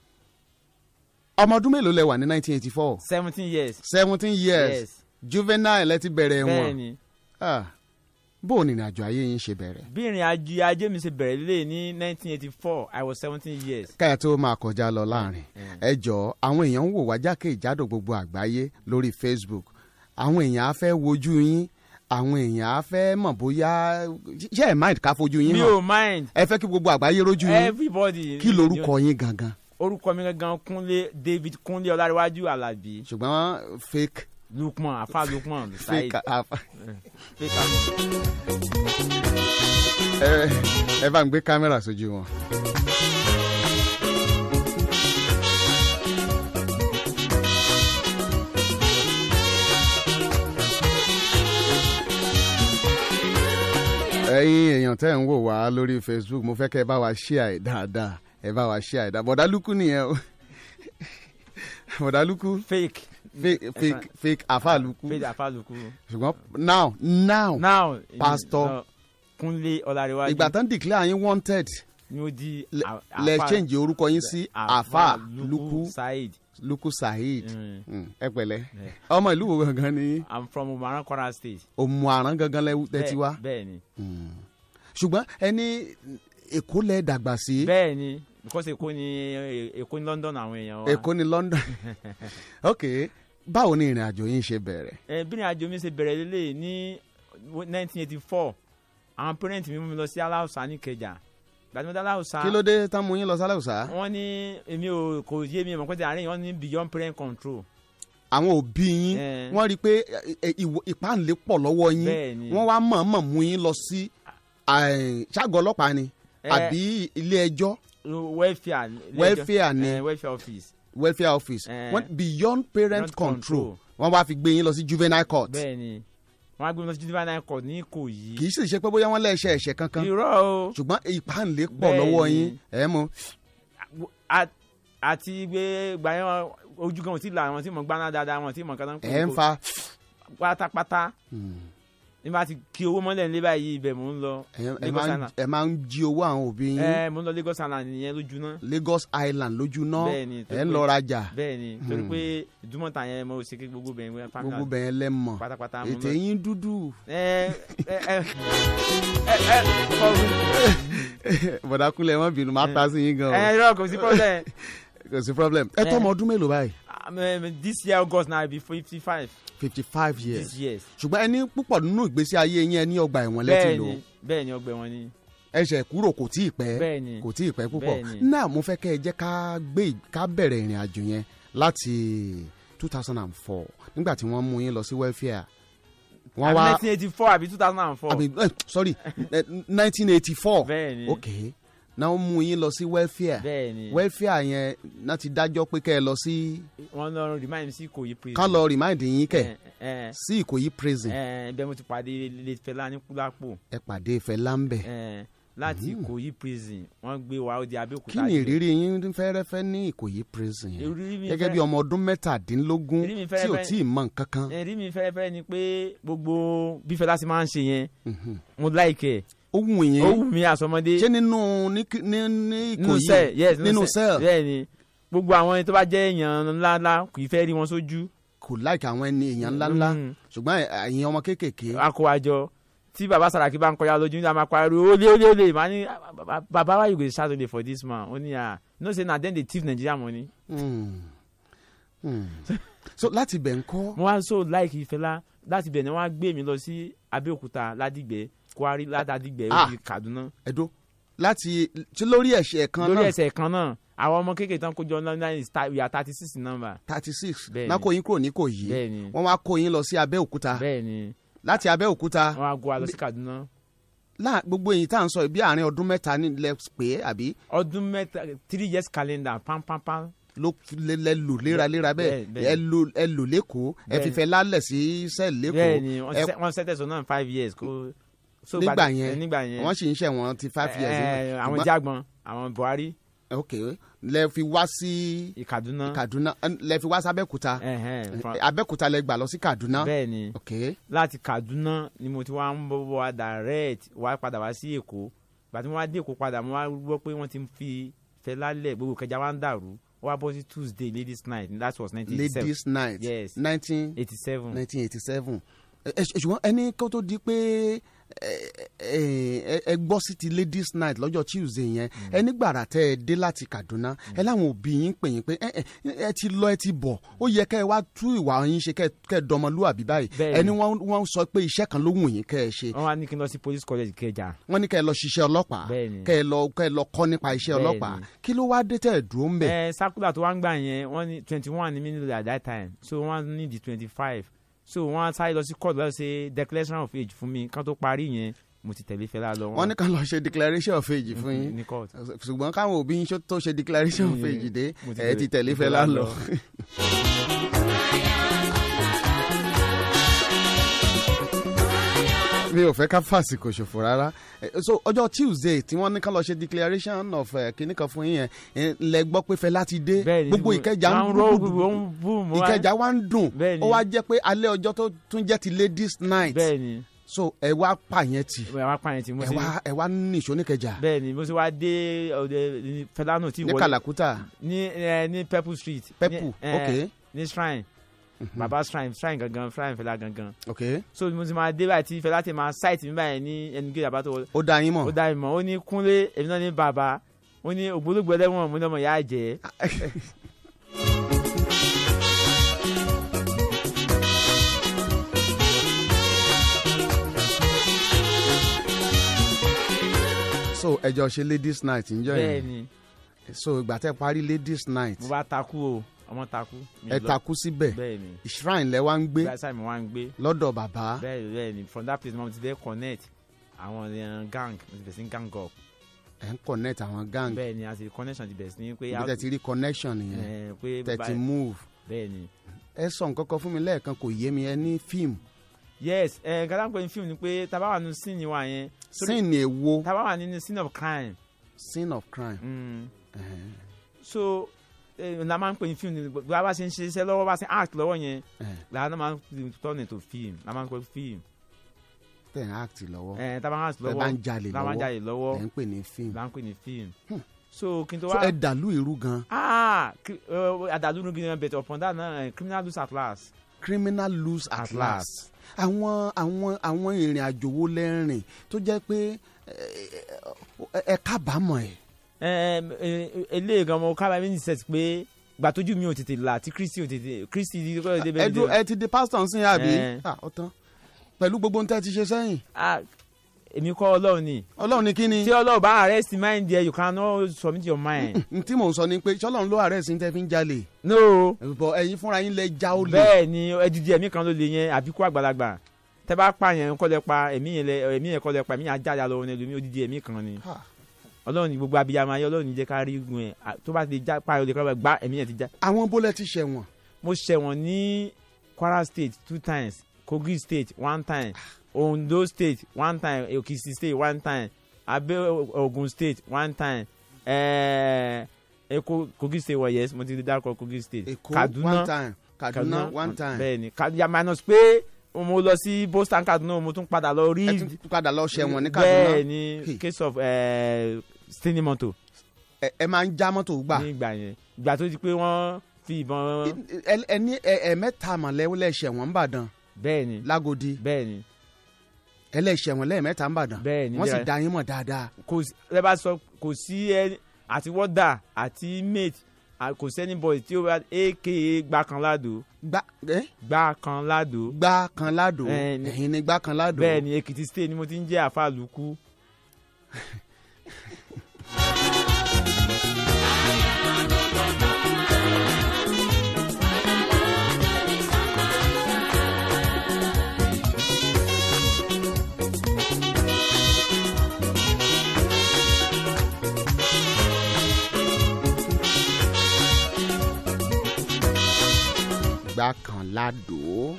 [SPEAKER 3] ọmọ ọdún mélòó lẹ wà ní 1984
[SPEAKER 10] seventeen years
[SPEAKER 3] seventeen years juvenile lẹ ti bẹ̀rẹ̀ ẹ̀wọ̀n
[SPEAKER 10] bẹ́ẹ̀ni
[SPEAKER 3] Ah, bó o ní ìrìn àjò ayé yín ṣe bẹ̀rẹ̀.
[SPEAKER 10] bí ìrìn àjò ajé mi ṣe bẹ̀rẹ̀ lélẹ̀ ní nineteen eighty four i was seventeen years
[SPEAKER 3] káyà tó máa kọjá lọ láàrin
[SPEAKER 10] Mm.
[SPEAKER 3] ẹ jọ̀ọ́ àwọn èèyàn ń wò wá jákèjádò gbogbo àgbáyé lórí facebook àwọn èèyàn á fẹ́ wojú yín àwọn èèyàn á fẹ́ mọ̀ bóyá ṣé ẹ̀ mind ká fojú yín
[SPEAKER 10] mi
[SPEAKER 3] hàn
[SPEAKER 10] ò mind
[SPEAKER 3] ẹ fẹ́ kí gbogbo àgbáyé rójú yín
[SPEAKER 10] everybody
[SPEAKER 3] kí lorúkọ yín gangan
[SPEAKER 10] orúkọ mi gangan kúnlé david kúnlé ọlárẹwájú alábí
[SPEAKER 3] ṣùgbọ́n fake
[SPEAKER 10] lukman afa lukman saheed
[SPEAKER 3] fake afa
[SPEAKER 10] fake am.
[SPEAKER 3] ẹ ẹ bá ń gbé kámẹ́rà sójú wọn. ẹ̀yin èèyàn tẹ́ ń wò wá lórí facebook mo fẹ́ kẹ́ ẹ bá wa ṣíà ẹ̀ dáadáa ẹ bá wa ṣíà ẹ̀ dáadáa [LAUGHS] bọ̀dá lukú nìyẹn o ọ̀dàlùkù
[SPEAKER 10] fake
[SPEAKER 3] fake fake fake àfàlùkù
[SPEAKER 10] fake afaluku.
[SPEAKER 3] ṣùgbọ́n now now
[SPEAKER 10] now
[SPEAKER 3] pastor
[SPEAKER 10] kunle ọlárẹwájú.
[SPEAKER 3] ìgbà tán declare yín wanted
[SPEAKER 10] ni ó di
[SPEAKER 3] lẹ-
[SPEAKER 10] a-
[SPEAKER 3] lẹ
[SPEAKER 10] Alfa-
[SPEAKER 3] change orúkọ yín sí
[SPEAKER 10] Alfa
[SPEAKER 3] àfàlùkù
[SPEAKER 10] saheed
[SPEAKER 3] luku saheed Mm, ẹ pẹ̀lẹ́
[SPEAKER 10] Yeah.
[SPEAKER 3] ọmọ ìlú wo gangan ni
[SPEAKER 10] i'm from umaran kwara state.
[SPEAKER 3] òmù àrán gangan lẹ ti wá
[SPEAKER 10] Bẹ́ẹ̀- bẹ́ẹ̀ni
[SPEAKER 3] ṣùgbọ́n ẹni èkó lẹ dàgbà sí
[SPEAKER 10] bẹ́ẹ̀ni because èkó ni èkó ni london àwọn èèyàn wa.
[SPEAKER 3] èkó ní
[SPEAKER 10] [LAUGHS]
[SPEAKER 3] london ok báwo ni ìrìn àjò yín ṣe bẹ̀rẹ̀
[SPEAKER 10] ẹ bí ní àjò mi ṣe bẹ̀rẹ̀ lélẹ̀ ní nineteen eighty four àwọn parents mi mú mi lọ sí aláùsá ní kẹjà gbàdúrà dá aláùsá.
[SPEAKER 3] kí ló dé tá mú yín lọ sálẹ̀ òsà
[SPEAKER 10] wọ́n ní èmi ò kò yé mi mọ̀ pé àárín yìí wọ́n ní beyond parent control.
[SPEAKER 3] àwọn òbí yín
[SPEAKER 10] Eh.
[SPEAKER 3] wọ́n rí i pé eh, ìwọ- ìpáǹlé pọ̀ lọ́wọ́ yín
[SPEAKER 10] Bẹ́ẹ̀ni.
[SPEAKER 3] wọ́n wá mọ̀ọ́mọ̀ mú yín lọ sí eh, ságọ́ ọlọ́pàá ni
[SPEAKER 10] Eh.
[SPEAKER 3] àbí ilé ẹjọ́
[SPEAKER 10] welfare lẹ́jọ́-
[SPEAKER 3] Welfare ni.
[SPEAKER 10] eh, welfare office.
[SPEAKER 3] welfare office
[SPEAKER 10] Eh.
[SPEAKER 3] wọ́n beyond parent
[SPEAKER 10] Parent
[SPEAKER 3] control
[SPEAKER 10] control.
[SPEAKER 3] wọ́n wá fi gbé yín lọ sí juvenile court
[SPEAKER 10] bẹ́ẹ̀ni wọ́n á gbé mi lọ sí juvenile court ní ìkòyí.
[SPEAKER 3] kì í sì ṣe pé bóyá wọ́n lẹ́ẹ̀ṣẹ̀ ẹ̀ṣẹ̀ kankan
[SPEAKER 10] irọ́ o
[SPEAKER 3] ṣùgbọ́n ìpáǹlé pọ̀ lọ́wọ́
[SPEAKER 10] Bẹ́ẹ̀ni.
[SPEAKER 3] yín ẹ̀ mọ́
[SPEAKER 10] a- àti gbé gbà yẹn wọn- ojú kan ò tí ì là wọn tí mò ń gbaná dáadáa wọn tí mò ń kaná.
[SPEAKER 3] ẹ̀ ń fa
[SPEAKER 10] pátápátá nígbà tí kí owó mọ́lẹ̀ nílé báyìí ibẹ̀ mò ń lọ
[SPEAKER 3] ẹ- ẹ
[SPEAKER 10] Lagos
[SPEAKER 3] máa ń-
[SPEAKER 10] Island. Eh.
[SPEAKER 3] ẹ máa ń jí owó àwọn òbí yín
[SPEAKER 10] ẹ mò ń lọ Lagos Island nìyẹn lójú náà.
[SPEAKER 3] Lagos Island lójú náà
[SPEAKER 10] Bẹ́ẹ̀ni, torí
[SPEAKER 3] ẹ̀ ń
[SPEAKER 10] pé-
[SPEAKER 3] lọ rajà
[SPEAKER 10] bẹ́ẹ̀ni torí
[SPEAKER 3] Hmm.
[SPEAKER 10] pé ìdúmọ̀tà yẹn mo ṣe kí gbogbo bẹ̀yẹn wẹ́ pàmìlà.
[SPEAKER 3] gbogbo bẹ̀yẹn lẹ́mọ̀
[SPEAKER 10] pátápátá mo
[SPEAKER 3] ètè
[SPEAKER 10] lọ-
[SPEAKER 3] yín dúdú. [LAUGHS]
[SPEAKER 10] ẹ ẹ ẹ ẹ ẹ kọ-
[SPEAKER 3] bọ̀dá kúnlẹ̀ má bínú
[SPEAKER 10] Eh.
[SPEAKER 3] máa ta sí yín gan
[SPEAKER 10] ẹ
[SPEAKER 3] o
[SPEAKER 10] irọ́ kò sí pọ́sẹ̀.
[SPEAKER 3] kò sí problem. ẹ
[SPEAKER 10] Eh.
[SPEAKER 3] tọ́ ọmọ ọdún mélòó báyìí
[SPEAKER 10] Ah, this year August na I be fifty five
[SPEAKER 3] fifty five
[SPEAKER 10] this
[SPEAKER 3] years
[SPEAKER 10] year.
[SPEAKER 3] ṣùgbọ́n ẹni púpọ̀ nínú ìgbésí ayé yín ẹni ọgbà ẹ̀wọ̀n lẹ́tì lò
[SPEAKER 10] bẹ́ẹ̀ni bẹ́ẹ̀ni ọgbẹ́ wọn ni.
[SPEAKER 3] ẹsẹ̀ kúrò kò tí ì pẹ́
[SPEAKER 10] bẹ́ẹ̀ni
[SPEAKER 3] kò tí ì pẹ́ púpọ̀
[SPEAKER 10] Bẹ́ẹ̀ni.
[SPEAKER 3] náà mo fẹ́ kẹ́ ẹ jẹ́ ká gbé ká bẹ̀rẹ̀ ìrìn àjò yẹn láti two thousand and four nígbà tí wọ́n mú yín lọ sí welfare wọ́n
[SPEAKER 10] àbí
[SPEAKER 3] wá
[SPEAKER 10] nineteen eighty four àbí two thousand and four.
[SPEAKER 3] àbí eh, sorry nineteen eighty four
[SPEAKER 10] bẹ́ẹ̀ni
[SPEAKER 3] ok náà wọ́n mú yín lọ sí welfare
[SPEAKER 10] bẹ́ẹ̀ni
[SPEAKER 3] welfare yẹn náà ti dájọ́ pé kẹ́ ẹ lọ sí
[SPEAKER 10] wọ́n lọ remind me sí ìkòyí prison. Eh,
[SPEAKER 3] ká lọ remind yín kẹ́
[SPEAKER 10] ẹ ẹ
[SPEAKER 3] sí ìkòyí prison
[SPEAKER 10] ẹ eh, ibẹ̀ mo ti pàdé late fela ní kúlápò
[SPEAKER 3] ẹ pàdé ìfẹ́ láńbẹ̀.
[SPEAKER 10] ẹ láti ìkòyí prison wọ́n gbé wa ó di abẹ́òkúta.
[SPEAKER 3] kí ni ìrírí yín fẹ́rẹ́fẹ́ ní ìkòyí prison yẹn
[SPEAKER 10] Ìrírí mi
[SPEAKER 3] gẹ́gẹ́
[SPEAKER 10] fẹ́-
[SPEAKER 3] bí ọmọ ọdún mẹ́tàdínlógún
[SPEAKER 10] Ìrírí mi
[SPEAKER 3] tí ò
[SPEAKER 10] fẹ́rẹ́fẹ́-
[SPEAKER 3] tí ì mọ nǹkan kan
[SPEAKER 10] ẹ̀rí Eh, mi fẹ́rẹ́fẹ́rẹ́ ni pé gbogbo bí fẹlá sì máa ń ṣe yẹn mo láìkẹ́
[SPEAKER 3] ó wù
[SPEAKER 10] ẹ̀
[SPEAKER 3] yín
[SPEAKER 10] ó wù mí àsọmọdé
[SPEAKER 3] Mhm. ṣé nínú ní kí- ní ní
[SPEAKER 10] nínú
[SPEAKER 3] ìkòyí
[SPEAKER 10] sẹ́ẹ̀ yes
[SPEAKER 3] nínú sẹ́ẹ̀
[SPEAKER 10] bẹ́ẹ̀ ni gbogbo àwọn ẹni tó bá jẹ́ èèyàn ńláńlá kì í fẹ́ rí wọn sójú
[SPEAKER 3] kò láìka àwọn ẹni èèyàn ńláńlá
[SPEAKER 10] Mm.
[SPEAKER 3] ṣùgbọ́n ẹ̀yin ọmọ kéékèèké
[SPEAKER 10] Ah. akọwájọ tí baba saraki bá ń kọjá lójú ní a máa pariwo olè olè olè màá ní "Ah, ba- ba- baba why you go dey shout olè for this man ó ní à no say na dem dey thief nigeria money
[SPEAKER 3] Mm. Mm. so láti bẹ̀ ń kọ́
[SPEAKER 10] mo wá so like ifela láti bẹ̀ ni wọ́n á gbé mi lọ sí abẹ́òkúta ládìgbẹ́ kwari ládàdìgbẹ́
[SPEAKER 3] Ah.
[SPEAKER 10] òbí kaduna
[SPEAKER 3] ẹ̀dọ́ láti tí lórí ẹ̀ṣẹ̀ kan
[SPEAKER 10] lórí
[SPEAKER 3] náà
[SPEAKER 10] ẹsẹ̀ kan náà àwọn ọmọ kékeré tán kójọ online is ta- we are thirty six number
[SPEAKER 3] thirty six
[SPEAKER 10] Bẹ́ẹ̀ni.
[SPEAKER 3] náà kó yín kúrò ní kò yìí
[SPEAKER 10] bẹ́ẹ̀ni
[SPEAKER 3] wọ́n wá kó yín lọ sí abẹ́òkúta
[SPEAKER 10] bẹ́ẹ̀ni
[SPEAKER 3] láti abẹ́òkúta
[SPEAKER 10] wọ́n á gbọ́ wa lọ sí kaduna
[SPEAKER 3] láà gbogbo èyí tá à ń sọ yìí, bí àárín ọdún mẹ́ta ní lẹ pé àbí
[SPEAKER 10] ọdún mẹ́ta three years calendar pampampam
[SPEAKER 3] ló fi lé- lẹ lò léraléra
[SPEAKER 10] Bẹ́ẹ̀-
[SPEAKER 3] bẹ́ẹ̀
[SPEAKER 10] bẹ́ẹ̀.
[SPEAKER 3] ẹ lò ẹ lò lẹ́kọ̀ọ́ ẹ
[SPEAKER 10] Bẹ́ẹ̀.
[SPEAKER 3] fìfẹ́ lálẹ̀ sí sẹ́ẹ̀
[SPEAKER 10] bẹ́ẹ̀ni
[SPEAKER 3] lẹ́kọ̀ọ́ ẹ-
[SPEAKER 10] wọ́n sẹ́tẹ̀sọ náà five years kó so
[SPEAKER 3] nígbà
[SPEAKER 10] gbàdé-
[SPEAKER 3] yẹn
[SPEAKER 10] nígbà yẹn
[SPEAKER 3] wọ́n sì ń ṣẹ̀wọ̀n ti five years.
[SPEAKER 10] Eh, àwọn
[SPEAKER 3] Ṣùgbọ́n-
[SPEAKER 10] jágbọn àwọn buhari
[SPEAKER 3] ok lẹ fi wá sí
[SPEAKER 10] ìkàdúná
[SPEAKER 3] Kaduna eh, lẹ fi wá sí Abẹ́òkúta
[SPEAKER 10] Ẹhẹ́n, fa-
[SPEAKER 3] Abẹ́òkúta lẹ gbà lọ sí Kaduna
[SPEAKER 10] bẹ́ẹ̀ni
[SPEAKER 3] ok
[SPEAKER 10] láti kaduna ni mo ti wá ń bọ́ wá direct wá padà wá sí èkó ìgbà tí mo wá dé èkó padà mo wá gbọ́ pé wọ́n ti ń fi fẹ́ lálẹ́ gbogbo kẹjà wá ń dàrú ó wá bọ́ sí tuesday ladies night and that was nineteen eighty seven
[SPEAKER 3] Ladies Night
[SPEAKER 10] Yes.
[SPEAKER 3] nineteen
[SPEAKER 10] eighty seven
[SPEAKER 3] nineteen eighty seven ṣùgbọ́n ẹni kó tó di pé ẹ- ẹ- ẹ ẹ gbọ́ sí ti ladies night lọ́jọ́ tuesday yẹn
[SPEAKER 10] Hmm.
[SPEAKER 3] ẹ nígbàrà tẹ́ ẹ dé láti kaduna ẹ láwọn òbí yín pè yín pé ẹ ẹ ẹ ti lọ ẹ ti bọ̀ ó yẹ kẹ́ ẹ wá tú ìwà yín ṣe kẹ́ ẹ- kẹ́ ẹ dọmọlúwàbí báyìí
[SPEAKER 10] Bẹ́ẹ̀ni.
[SPEAKER 3] ẹni wọ́n wọ́n sọ pé iṣẹ́ kan ló wù yín kẹ́ ẹ ṣe
[SPEAKER 10] wọ́n wá ní kí n lọ sí police college kẹjà
[SPEAKER 3] wọ́n ní kẹ́ ẹ lọ ṣiṣẹ́ ọlọ́pàá
[SPEAKER 10] Bẹ́ẹ̀ni.
[SPEAKER 3] kẹ́ ẹ lọ kẹ́ ẹ lọ kọ́ nípa iṣẹ́
[SPEAKER 10] Bẹ́ẹ̀ni.
[SPEAKER 3] ọlọ́pàá kí ló wá dé tẹ́ ẹ dúró ń bẹ̀
[SPEAKER 10] ẹ sakula Eh, tó wá ń gbà yẹn wọ́n ní twenty one ní minute at that time so wọ́n ní di twenty five so wọ́n á sáré lọ sí court lọ ṣe declaration of age fún mi kán tó parí yẹn mo ti tẹ̀lé fẹ́lá lọ
[SPEAKER 3] wọ́n ní ká lọ ṣe declaration of age fún yín Eh,
[SPEAKER 10] ní court.
[SPEAKER 3] ṣùgbọ́n káwọn òbí yín tó ṣe declaration of
[SPEAKER 10] Mm,
[SPEAKER 3] age dé
[SPEAKER 10] mo ti
[SPEAKER 3] ẹ ti tẹ̀lé
[SPEAKER 10] tẹ̀lé
[SPEAKER 3] Fẹlá lọ. mi ò fẹ́ ká fàsìkò ṣòfò rárá Eh, so ọjọ́ tuesday tí wọ́n ní ká lọ ṣe declaration of eh, kíní kan fún yín yẹn eh, lẹ gbọ́ pé Fẹlá ti dé gbogbo ìkẹjà ń dùn ìkẹjà wa ń dùn ó wá jẹ́ pé alẹ́ ọjọ́ tó tún jẹ́ ti ladies night so ẹ wá pààyàn tì ẹ wá ẹ wá nìṣó níkẹjà
[SPEAKER 10] bẹẹni mo ti wá dé ọdẹ fẹlánù tí
[SPEAKER 3] ní kàlàkùtà
[SPEAKER 10] ní ẹ ní purple street
[SPEAKER 3] Purple, Mhm.
[SPEAKER 10] ní, ẹ,
[SPEAKER 3] okay.
[SPEAKER 10] ní shrine baba shrine shrine gangan shrine fẹlá gangan
[SPEAKER 3] ok
[SPEAKER 10] so mo ti máa dé báyìí tí fẹlá ti máa ṣáìtì mi báyìí ní ẹnu gíga bá tó wọlé
[SPEAKER 3] ó dá yín mọ̀
[SPEAKER 10] ó dá mi mọ̀ ó ní kúnlé èmi náà ní bàbá ó ní ògbólógbò ẹlẹ́wọ̀n mo ní ọmọ ìyá àjẹ́.
[SPEAKER 3] [LAUGHS] so ẹjọ ṣe ladies night ńjọ́ yẹn
[SPEAKER 10] bẹ́ẹ̀ni
[SPEAKER 3] so ìgbà tẹ parí ladies night
[SPEAKER 10] mo bá takú o ọmọ takú. mi
[SPEAKER 3] ẹ
[SPEAKER 10] lọ.
[SPEAKER 3] takú síbẹ̀
[SPEAKER 10] bẹ́ẹ̀ni
[SPEAKER 3] shrine lẹ wá ń gbé
[SPEAKER 10] gbàsá mi wá ń gbé.
[SPEAKER 3] lọ́dọ̀ bàbá
[SPEAKER 10] bẹ́ẹ̀ni bẹ́ẹ̀ni from that place mo ti dé connect àwọn eh, gang mo ti bẹ̀rẹ̀ sí ní gang up.
[SPEAKER 3] ẹ ń connect àwọn gang
[SPEAKER 10] bẹ́ẹ̀ni àti connection ti bẹ̀rẹ̀ sí ní pé.
[SPEAKER 3] ibi tẹ ti rí connection yẹn
[SPEAKER 10] Eh, pé
[SPEAKER 3] tẹ ti
[SPEAKER 10] báyìí-
[SPEAKER 3] move
[SPEAKER 10] bẹ́ẹ̀ni.
[SPEAKER 3] ẹ sọ nǹkan kan fún mi lẹ́ẹ̀kan kò yé mi ẹ ní fíìmù
[SPEAKER 10] yes eh, gàdá pé fíìmù ni pé tá a bá wà nínú scene wa yẹn.
[SPEAKER 3] Scene èwo?
[SPEAKER 10] tá a bá wà nínú scene of crime.
[SPEAKER 3] scene of crime.
[SPEAKER 10] Mm.
[SPEAKER 3] Ẹ̀hẹ̀n.
[SPEAKER 10] so eh, la máa ń pè ní fíìmù ni bí a bá ṣe ń ṣe iṣẹ́ lọ́wọ́ bá ṣe ń act lọ́wọ́ yẹn
[SPEAKER 3] Eh.
[SPEAKER 10] la náà máa ń turn into film la máa ń pè fíìmù
[SPEAKER 3] tẹ̀ ń act lọ́wọ́
[SPEAKER 10] Eh, tá a bá ń act
[SPEAKER 3] tẹ̀
[SPEAKER 10] lọ́wọ́
[SPEAKER 3] Oh. bá ń jalè
[SPEAKER 10] tá a bá ń jalè lọ́wọ́
[SPEAKER 3] lẹ́ ń pè ní fíìmù
[SPEAKER 10] la ń pè ní fíìmù so kí n tó
[SPEAKER 3] so
[SPEAKER 10] wá
[SPEAKER 3] ẹ dàlú irú gan
[SPEAKER 10] ah kí- eh, àdàlú ní gbìyànjú bẹ̀tẹ̀ upon that náà eh, criminal lose at last
[SPEAKER 3] criminal lose at last àwọn àwọn àwọn ìrìn àjò wo lẹ́rìn tó jẹ́ pé ẹ- ẹ kábàámọ̀ ẹ̀
[SPEAKER 10] Eh, eh, eléyìí gan mo kábàámọ̀ ní sẹ́ẹ̀tì pé gbàtójú mi ò tètè là tí kristi ò tètè kristi ní kọ́ ẹ̀ débẹ̀
[SPEAKER 3] ẹ dúró ẹ ti di pastor ń sìn yín àbí
[SPEAKER 10] Eh.
[SPEAKER 3] Ah, ọ̀tán pẹ̀lú gbogbo ohun tẹ́ ti ṣe sẹ́yìn
[SPEAKER 10] ah èmi kọ́ ọlọ́run ni.
[SPEAKER 3] ọlọ́run ni kí ni
[SPEAKER 10] tí ọlọ́run bá arrest mind there you cannot submit your mind.
[SPEAKER 3] n tí mò ń sọ ni pé ṣọlọ́run ló ààrẹ sí tẹ́ fi ń jalè
[SPEAKER 10] no.
[SPEAKER 3] bọ̀ ẹ̀yin fúnra yín lẹ já ó lè
[SPEAKER 10] bẹ́ẹ̀ ni ẹdidi ẹ̀mí kan ló lè yẹn àbíkú àgbàlagbà tẹ bá pa yẹn kọ́ lẹ pa ẹ̀mí yẹn lẹ ẹ̀mí yẹn kọ́ lẹ pa ẹ̀mí yẹn ajáda lọ́wọ́ ní ẹlòmí odidi ẹ̀mí kan ni. ọlọ́run ni gbogbo abiyamọ ayé ọlọ́run ni jẹ́ ká rí gun ẹ̀ À, tó bá ti já pa olè kọ́ gbá ẹ̀mí yẹn ti já.
[SPEAKER 3] àwọn bólẹ̀ ti ṣẹ̀wọ̀n.
[SPEAKER 10] mo ṣẹ̀wọ̀n ní kwara state two times kogi state one time ondo state one time ekiti state one time abe ogun state one time eh, eko kogi state wọ yes mo ti dárúkọ kogi state
[SPEAKER 3] Èkó one time kaduna one time
[SPEAKER 10] bẹ́ẹ̀ni kaduna minus pé mo lọ sí boston kaduna mo tún padà lọ rí
[SPEAKER 3] ẹ tún padà lọ ṣẹ̀wọ̀n ní kaduna
[SPEAKER 10] bẹ́ẹ̀ni case of eh, stealing motor
[SPEAKER 3] ẹ ẹ máa ń já mọ́tò gbà
[SPEAKER 10] ní ìgbà yẹn ìgbà tó di pé wọ́n fi ìbọn
[SPEAKER 3] ẹ- ẹ ní ẹ- ẹ̀ẹ̀mẹ́ta mọ̀lẹ́wọ́ lẹ ṣẹ̀wọ̀n ńbàdàn
[SPEAKER 10] bẹ́ẹ̀ni
[SPEAKER 3] lágòdì
[SPEAKER 10] bẹ́ẹ̀ni
[SPEAKER 3] ẹ lẹ ṣẹ̀wọ̀n lẹ́ẹ̀mẹ́ta ńbàdàn
[SPEAKER 10] Bẹ́ẹ̀ni,
[SPEAKER 3] wọ́n sì
[SPEAKER 10] bẹ́ẹ̀ni.
[SPEAKER 3] dá yín mọ̀ dáadáa
[SPEAKER 10] kò sí ẹ bá sọ kò sí ẹ àti wọ́dà àti mate à- kò sẹ́ni bọ̀dì tí ó bá aka gba kan ládò.
[SPEAKER 3] gba ẹ.
[SPEAKER 10] gba kan ládò.
[SPEAKER 3] gbá kan ládò
[SPEAKER 10] Ẹ ní-
[SPEAKER 3] ẹ̀yin ni gbá kan ládò
[SPEAKER 10] bẹ́ẹ̀ ni Èkìtì state ni mo ti ń jẹ́ àfàlùkù.
[SPEAKER 3] gbá kan ládò.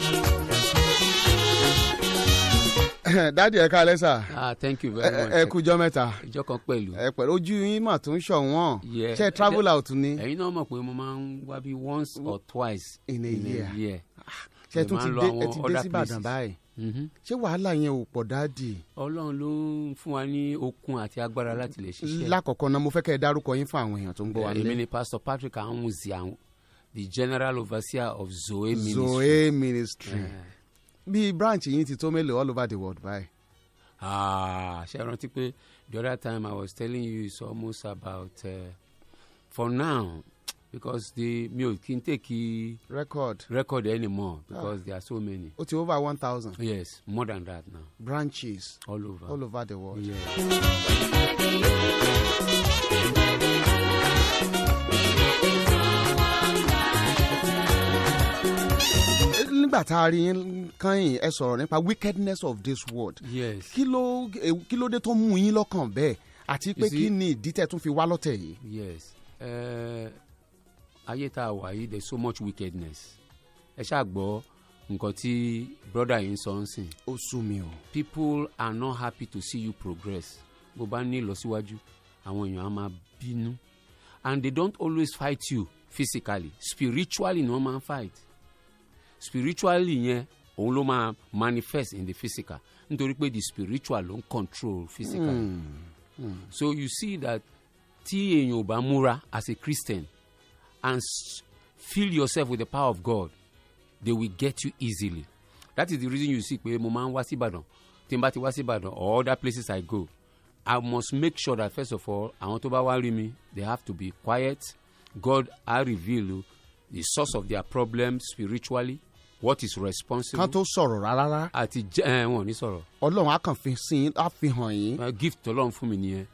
[SPEAKER 3] [LAUGHS] dádì ẹ káalẹ́ sà
[SPEAKER 11] ah thank you very much.
[SPEAKER 3] ẹ ẹ kújọ́ mẹ́ta
[SPEAKER 11] ìjọ kan pẹ̀lú.
[SPEAKER 3] ẹ pẹ̀lú ojú yín mà tún ṣọ̀wọ́n
[SPEAKER 11] Yeah.
[SPEAKER 3] ṣe travel out ni
[SPEAKER 11] ẹ̀yin náà mọ̀ pé mo máa ń wá bí once or twice
[SPEAKER 3] in a year. ṣe
[SPEAKER 11] Mo
[SPEAKER 3] tún
[SPEAKER 11] máa
[SPEAKER 3] ti
[SPEAKER 11] ń lọ
[SPEAKER 3] dé ẹ
[SPEAKER 11] àwọn
[SPEAKER 3] ti dé
[SPEAKER 11] other
[SPEAKER 3] sí Ìbàdàn
[SPEAKER 11] places.
[SPEAKER 3] báyìí
[SPEAKER 11] Mhm.
[SPEAKER 3] ṣé wàhálà yẹn ò pọ̀ dádì.
[SPEAKER 11] ọlọ́run ló ń fún wa ní okun àti agbára láti lè ṣiṣẹ́.
[SPEAKER 3] lákọ̀ọ́kọ́ náà mo fẹ́ kẹ́ ẹ dárúkọ yín fún àwọn èèyàn tó ń gbọ́ wa
[SPEAKER 11] èmi ni pastor patrick ahunzi ahun the general overseer of zoe ministry. Eh.
[SPEAKER 3] zoe ministry bí branch yín ti tó mélòó all over the world báyìí.
[SPEAKER 11] Ah, ṣe rántí pé the other time I was telling you it's almost about uh, for now because the mi ò kí n take
[SPEAKER 3] record
[SPEAKER 11] record anymore because ah. there are so many.
[SPEAKER 3] ó ti over one thousand
[SPEAKER 11] Yes, more than that now.
[SPEAKER 3] branches
[SPEAKER 11] All over.
[SPEAKER 3] all over the world. Eh, nígbà tá a rí yín kányìn ẹ sọ̀rọ̀ nípa wickedness of this world
[SPEAKER 11] Yes.
[SPEAKER 3] kí ló eh, kí ló dé tó mú yín lọ́kàn bẹ́ẹ̀ àti pé
[SPEAKER 11] You see-
[SPEAKER 3] kí ni ìdí tẹ̀ tún fi wá lọ́tẹ̀ yìí.
[SPEAKER 11] yes uh, ayé tá a wà yìí there is so much wickedness ẹ ṣáà gbọ́ nǹkan tí brother yìí ń sọ ń sìn.
[SPEAKER 3] ó sú mi o.
[SPEAKER 11] people are not happy to see you progress bó bá ní ìlọsíwájú àwọn èèyàn á máa bínú and they don't always fight you physically spiritually ni wọ́n máa ń fight spiritually yẹn òun ló máa manifest in the physical nítorí pé the spiritual ló ń control physical. Mm. Mm. so you see that tí èèyàn ò bá múra as a christian and s- fill yourself with the power of god they will get you easily that is the reason you see pé mo máa ń wá síbàdàn tí n bá ti wá síbàdàn or other places i go i must make sure that first of all àwọn tó bá wá rí mi they have to be quiet god i reveal the source of their problem spiritually what is responsible.
[SPEAKER 3] kán tó sọ̀rọ̀ rárá
[SPEAKER 11] àti jẹ́ ẹ̀ wọ́n ò ní sọ̀rọ̀
[SPEAKER 3] ọlọ́run á kàn fi sí i á fi hàn yín
[SPEAKER 11] gift ọlọ́run fún mi nìyẹn.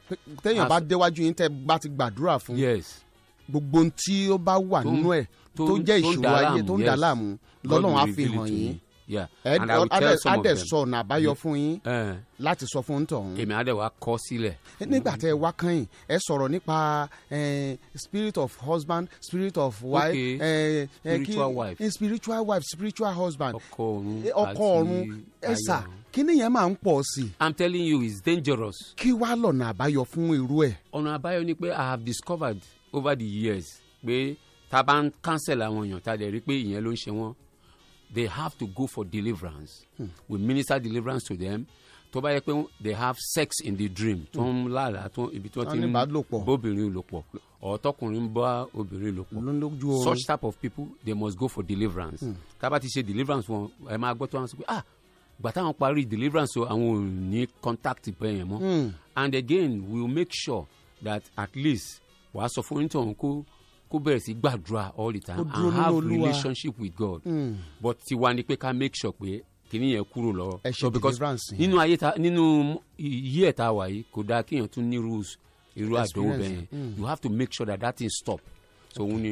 [SPEAKER 3] téèyàn
[SPEAKER 11] As-
[SPEAKER 3] bá déwájú yín tẹ́ bá ti gbàdúrà fún
[SPEAKER 11] yes.
[SPEAKER 3] gbogbo ohun tí ó bá wà
[SPEAKER 11] Tó ń-
[SPEAKER 3] nínú ẹ̀
[SPEAKER 11] tó
[SPEAKER 3] tó
[SPEAKER 11] ń-
[SPEAKER 3] jẹ́
[SPEAKER 11] tó ń
[SPEAKER 3] ìṣòro
[SPEAKER 11] dà
[SPEAKER 3] ayé
[SPEAKER 11] láàmú,
[SPEAKER 3] tó ń dà
[SPEAKER 11] yes.
[SPEAKER 3] láàmú
[SPEAKER 11] God
[SPEAKER 3] lọ́lọ́run á
[SPEAKER 11] will
[SPEAKER 3] fi
[SPEAKER 11] reveal
[SPEAKER 3] hàn
[SPEAKER 11] it to
[SPEAKER 3] yín
[SPEAKER 11] me. Yeah.
[SPEAKER 3] Ẹ-
[SPEAKER 11] And I will
[SPEAKER 3] á
[SPEAKER 11] tell
[SPEAKER 3] dẹ̀-
[SPEAKER 11] some
[SPEAKER 3] á
[SPEAKER 11] of
[SPEAKER 3] dẹ̀
[SPEAKER 11] them.
[SPEAKER 3] sọ ọ̀nà àbáyọ fún yín
[SPEAKER 11] Eh.
[SPEAKER 3] láti sọ fún tọ̀hún.
[SPEAKER 11] èmi á dẹ̀ wá kọ́ sílẹ̀.
[SPEAKER 3] nígbà tẹ wá kẹ́yìn ẹ sọ̀rọ̀ nípa eh, spirit of husband spirit of wife
[SPEAKER 11] Okay.
[SPEAKER 3] eh, eh, kí-
[SPEAKER 11] Spiritual wife.
[SPEAKER 3] eh, spiritual wife spiritual husband
[SPEAKER 11] ọkọ ọ̀run
[SPEAKER 3] Eh, ọkọ
[SPEAKER 11] àti
[SPEAKER 3] ọ̀run ẹ
[SPEAKER 11] aya
[SPEAKER 3] sà
[SPEAKER 11] ọ̀run.
[SPEAKER 3] kí nìyẹn máa ń pọ̀ sí i
[SPEAKER 11] i'm telling you it's dangerous.
[SPEAKER 3] kí wàá lọ̀nà àbáyọ fún irú ẹ̀
[SPEAKER 11] ọ̀nà àbáyọ ni pé i have discovered over the years pé tá a bá ń cancel àwọn èèyàn tá a dẹ̀ rí pé ìyẹn ló ń ṣe wọ́n they have to go for deliverance
[SPEAKER 12] Hmm.
[SPEAKER 11] we minister deliverance to them tó bá yẹ pé they have sex in the dream tó ń lára tó ibi tó
[SPEAKER 3] Tán
[SPEAKER 11] ti
[SPEAKER 3] ní
[SPEAKER 11] ń
[SPEAKER 3] ìbálòpọ̀.
[SPEAKER 11] bóbìnrin lò pọ̀ ọ̀tọ́kùnrin ń bá obìnrin lò pọ̀
[SPEAKER 3] lójú oorun.
[SPEAKER 11] such type of people they must go for deliverance
[SPEAKER 3] Hmm.
[SPEAKER 11] tá a bá ti ṣe deliverance wọn ẹ máa gbọ́ tó wọn sọ pé ah gbà táwọn parí deliverance o àwọn ò ní contact bẹ́ẹ̀ yẹn mọ́
[SPEAKER 3] Hmm.
[SPEAKER 11] and again we will make sure that at least wàá sọ fún onítọ̀hún kó kó bẹ̀rẹ̀ sí gbàdúrà all the time
[SPEAKER 3] Kó dúró
[SPEAKER 11] and
[SPEAKER 3] nínú
[SPEAKER 11] have
[SPEAKER 3] Olúwa.
[SPEAKER 11] relationship with God
[SPEAKER 3] Hmm.
[SPEAKER 11] but tiwa ni pé ká make sure pé kìnìún yẹn kúrò lọ.
[SPEAKER 3] Ẹ ṣe deliverance yẹn.
[SPEAKER 11] nínú ayé ta nínú iye ẹ̀ ta wà yìí kò dáa kéèyàn tún ní rules irú àdánwò
[SPEAKER 3] Experience,
[SPEAKER 11] bẹ́ẹ̀
[SPEAKER 3] mm.
[SPEAKER 11] yẹn you have to make sure that that thing stop so òun ni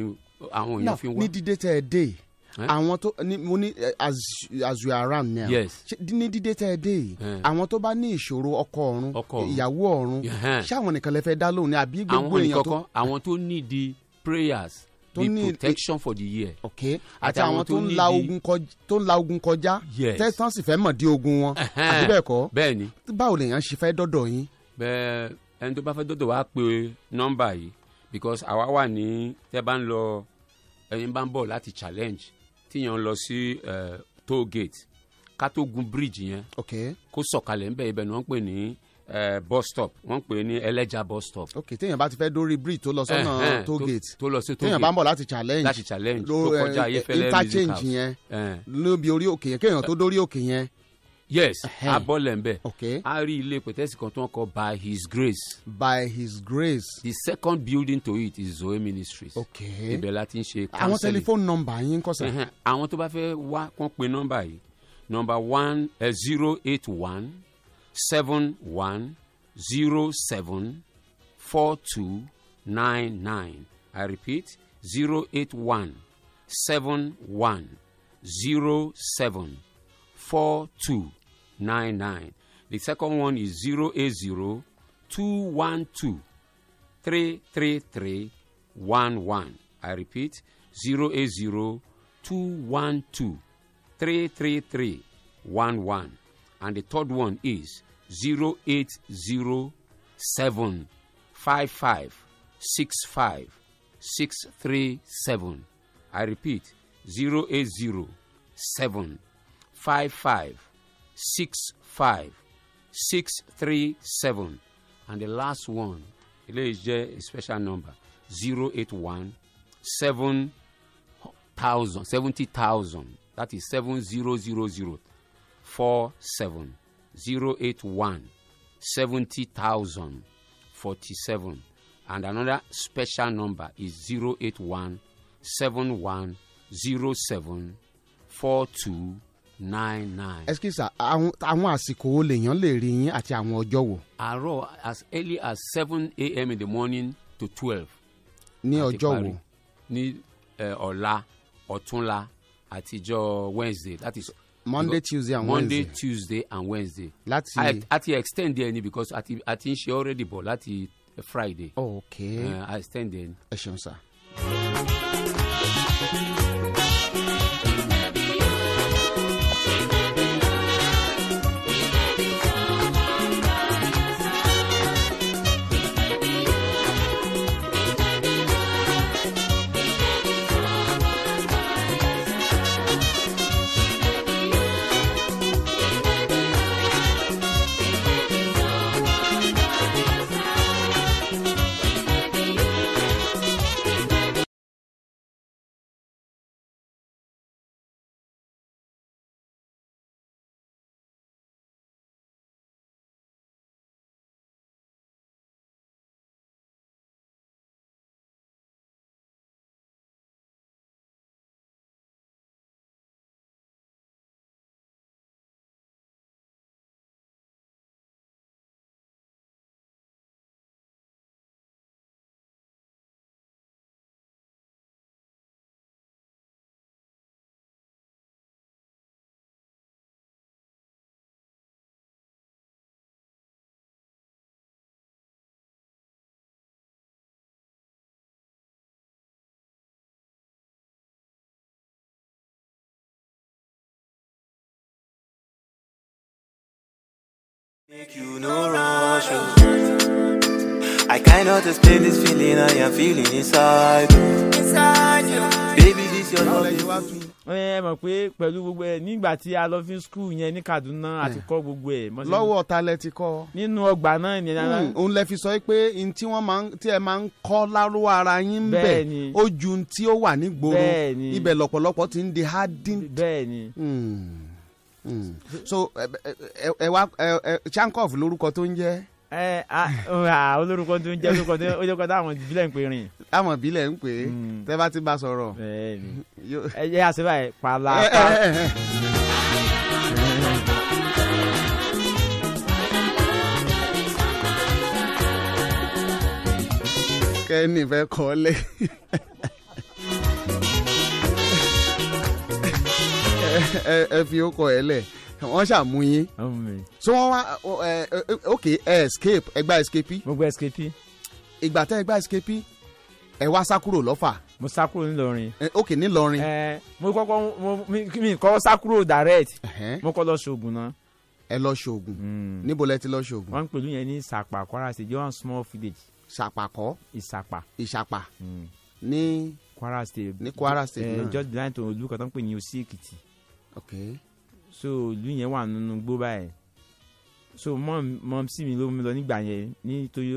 [SPEAKER 11] àwọn
[SPEAKER 3] now
[SPEAKER 11] èèyàn fi ń wá.
[SPEAKER 3] ní dídé tẹ ẹ dé yìí,
[SPEAKER 11] Eh?
[SPEAKER 3] àwọn tó ní mo ní eh, as as you are around now
[SPEAKER 11] Yes.
[SPEAKER 3] ṣé dí- ní dídé tẹ ẹ dé yìí
[SPEAKER 11] Eh.
[SPEAKER 3] àwọn tó bá ní ìṣòro ọkọ ọ̀run
[SPEAKER 11] ọ̀run.
[SPEAKER 3] ìyàwó ọ̀run
[SPEAKER 11] Yeah.
[SPEAKER 3] ṣé àwọn nìkan lè fẹ́ dá lóhùn ni àbí gbogbo
[SPEAKER 11] àwọn
[SPEAKER 3] èèyàn
[SPEAKER 11] nìkan
[SPEAKER 3] tó
[SPEAKER 11] kan àwọn tó need the prayers
[SPEAKER 3] Tó
[SPEAKER 11] the
[SPEAKER 3] need-
[SPEAKER 11] protection for the year.
[SPEAKER 3] okay àti àwọn tó ń la ogun kọjá tó ń la ogun kọjá
[SPEAKER 11] Yes.
[SPEAKER 3] tẹ́sán sì fẹ́ mọ̀ dí ogun wọn àbí bẹ́ẹ̀ kọ́
[SPEAKER 11] bẹ́ẹ̀ ni
[SPEAKER 3] báwo lèèyàn ṣe fẹ́ dọ́dọ̀ yín
[SPEAKER 11] bẹ́ẹ̀ ẹni tó bá fẹ́ dọ́dọ̀ wá pe nọ́mbà yìí because àwa wà ní tẹ́ bá ń lọ ẹni bá ń bọ̀ láti challenge tíyan lọ sí eh, toll gate ká tó gun bridge yẹn
[SPEAKER 3] okay
[SPEAKER 11] kó sọ̀kalẹ̀ ńbẹ̀ ibẹ̀ ni wọ́n ń pè ní eh, bus stop wọ́n ń pè ní ẹlẹ́ja bus stop.
[SPEAKER 3] okay téèyàn bá ti fẹ́ dórí bridge tó lọ
[SPEAKER 11] Ẹ̀hẹ́n,
[SPEAKER 3] sọ́nà
[SPEAKER 11] tó-
[SPEAKER 3] toll gate
[SPEAKER 11] tó lọ sí toll
[SPEAKER 3] téèyàn
[SPEAKER 11] gate.
[SPEAKER 3] bá ń bọ̀ láti challenge
[SPEAKER 11] Láti challenge,
[SPEAKER 3] ló-
[SPEAKER 11] tó kọjá
[SPEAKER 3] eh,
[SPEAKER 11] Ayéfẹ́lẹ́ music
[SPEAKER 3] interchange
[SPEAKER 11] house.
[SPEAKER 3] yẹn
[SPEAKER 11] Ẹ̀hẹ́n.
[SPEAKER 3] lóbi orí òkè yẹn kéèyàn tó dórí òkè yẹn
[SPEAKER 11] yes
[SPEAKER 3] Ẹ̀hẹ́n.
[SPEAKER 11] abọ́lẹ̀ ńbẹ̀ a rí ilé pẹ̀tẹ́sì kan tó ń kọ by his grace.
[SPEAKER 3] by his grace.
[SPEAKER 11] the second building to it is zoe ministries.
[SPEAKER 3] Okay.
[SPEAKER 11] ibẹ̀ la ti ń ṣe
[SPEAKER 3] àwọn
[SPEAKER 11] counseling.
[SPEAKER 3] tẹlifóònù nọ́mbà yín kọsà
[SPEAKER 13] Mm-hmm.
[SPEAKER 11] Ẹ̀hẹ́n, àwọn tó bá fẹ́ wá kán pe nọ́mbà yìí nọ́mbà one eh, zero eight one seven one zero seven four two nine nine i repeat zero eight one seven one zero seven four two nine nine the second one is zero eight zero two one two three three three one one. I repeat zero eight zero two one two three three three one one. And the third one is zero eight zero seven five five six five six three seven. I repeat zero eight zero seven five five six five six three seven and the last one eléyìí jẹ a special number zero eight one seven thousand seventy thousand that is seven zero zero zero four seven zero eight one seventy thousand forty seven and another special number is zero eight one seven one zero seven four two nine nine.
[SPEAKER 3] ẹsikisa àwọn àsìkò wo lèèyàn lè rí yín àti àwọn ọjọ́ wo
[SPEAKER 11] àárọ̀ as early as seven a.m. in the morning to twelve.
[SPEAKER 3] ní ọjọ́ wo
[SPEAKER 11] parí. ní eh, ọ̀la ọ̀túnla àtijọ́ wednesday that is.
[SPEAKER 3] Monday, Tuesday and
[SPEAKER 11] monday
[SPEAKER 3] Wednesday.
[SPEAKER 11] tuesday and wednesday.
[SPEAKER 3] Láti-
[SPEAKER 11] A- a ti extend there ni because a ti a ti ń ṣe already bọ̀ láti friday.
[SPEAKER 3] oh, okay
[SPEAKER 13] Mm-hmm.
[SPEAKER 11] Eh, a extend there ni.
[SPEAKER 3] ẹ ṣeun sá.
[SPEAKER 10] Mm-hmm.
[SPEAKER 2] Ẹ
[SPEAKER 12] I cannot explain this feeling I am feeling inside. Inside you. Baby, this your love. is-
[SPEAKER 10] ẹ mọ̀ pé pẹ̀lú gbogbo ẹ̀ nígbà tí a lọ fi skul yẹn ní kaduna àti kọ́ gbogbo ẹ̀. bọ́n ṣe-
[SPEAKER 3] lọ́wọ́ ta lẹ ti kọ́.
[SPEAKER 10] nínú ọgbà náà ni
[SPEAKER 3] Hmm, òun lẹ fi sọ pé n tí wọ́n máa ń tí ẹ máa ń kọ́ láró ara yín ń bẹ̀
[SPEAKER 10] Bẹ́ẹ̀ni.
[SPEAKER 3] ó ju n tí ó wà nígboro
[SPEAKER 10] Bẹ́ẹ̀ni.
[SPEAKER 3] ibẹ̀ lọ̀pọ̀lọpọ̀ ti ń di hardened. Hmm,
[SPEAKER 10] bẹ́ẹ̀ni. Mm-hmm.
[SPEAKER 3] so ẹ ẹ- ẹ wá ẹ ẹ chankov lórúkọ tó ń jẹ́
[SPEAKER 10] ẹ a a, olórúkọ tó ń jẹ́ olórúkọ tó olórúkọ táwọn ìbílẹ̀ ń pè rìn.
[SPEAKER 3] táwọn ìbílẹ̀ ń pè é
[SPEAKER 10] Mm.
[SPEAKER 3] tẹ́ bá ti bá sọ̀rọ̀.
[SPEAKER 10] ẹ jẹ́ àṣebà ẹ̀ pàlà.
[SPEAKER 3] Ẹ- ẹ- ẹ- ẹ. kẹ́ni fẹ́ kọ́lé. Ẹ- ẹ ẹ fi ókọ ẹ lẹ̀ wọ́n ṣàmú yín. so oh, wọ́n wá ẹ ẹ eh, ok ẹ escape ẹ gba escape.
[SPEAKER 10] mo gba escape.
[SPEAKER 3] ìgbà tẹ́ ẹ gba escape ẹ wá sá kúrò lọ́fà. Eh,
[SPEAKER 10] mo sá kúrò nílọrin.
[SPEAKER 3] ok nílọrin.
[SPEAKER 10] ẹ mo kọ́kọ́ mo mi mi kọ́ sá kúrò direct.
[SPEAKER 3] Hmm.
[SPEAKER 10] mo kọ́ lọ ṣoògùn náà.
[SPEAKER 3] ẹ lọ ṣoògùn níbo lẹ ti lọ ṣoògùn.
[SPEAKER 10] wọ́n ń pèlú yẹn ní ìsàpà kwara state one small village.
[SPEAKER 3] ṣàpàkọ́.
[SPEAKER 10] ìsàpà.
[SPEAKER 3] ìsàpà.
[SPEAKER 10] Hmm.
[SPEAKER 3] ní
[SPEAKER 10] kwara state.
[SPEAKER 3] ní Kwara State
[SPEAKER 10] ẹ
[SPEAKER 3] náà.
[SPEAKER 10] just behind to olú kan tó ń pè ní osi èkìtì.
[SPEAKER 3] ok
[SPEAKER 10] Eh. so ìlú yẹn wà nínú gbó báyìí so mọ mọ sí mi ló mú mi lọ nígbà yẹn nítorí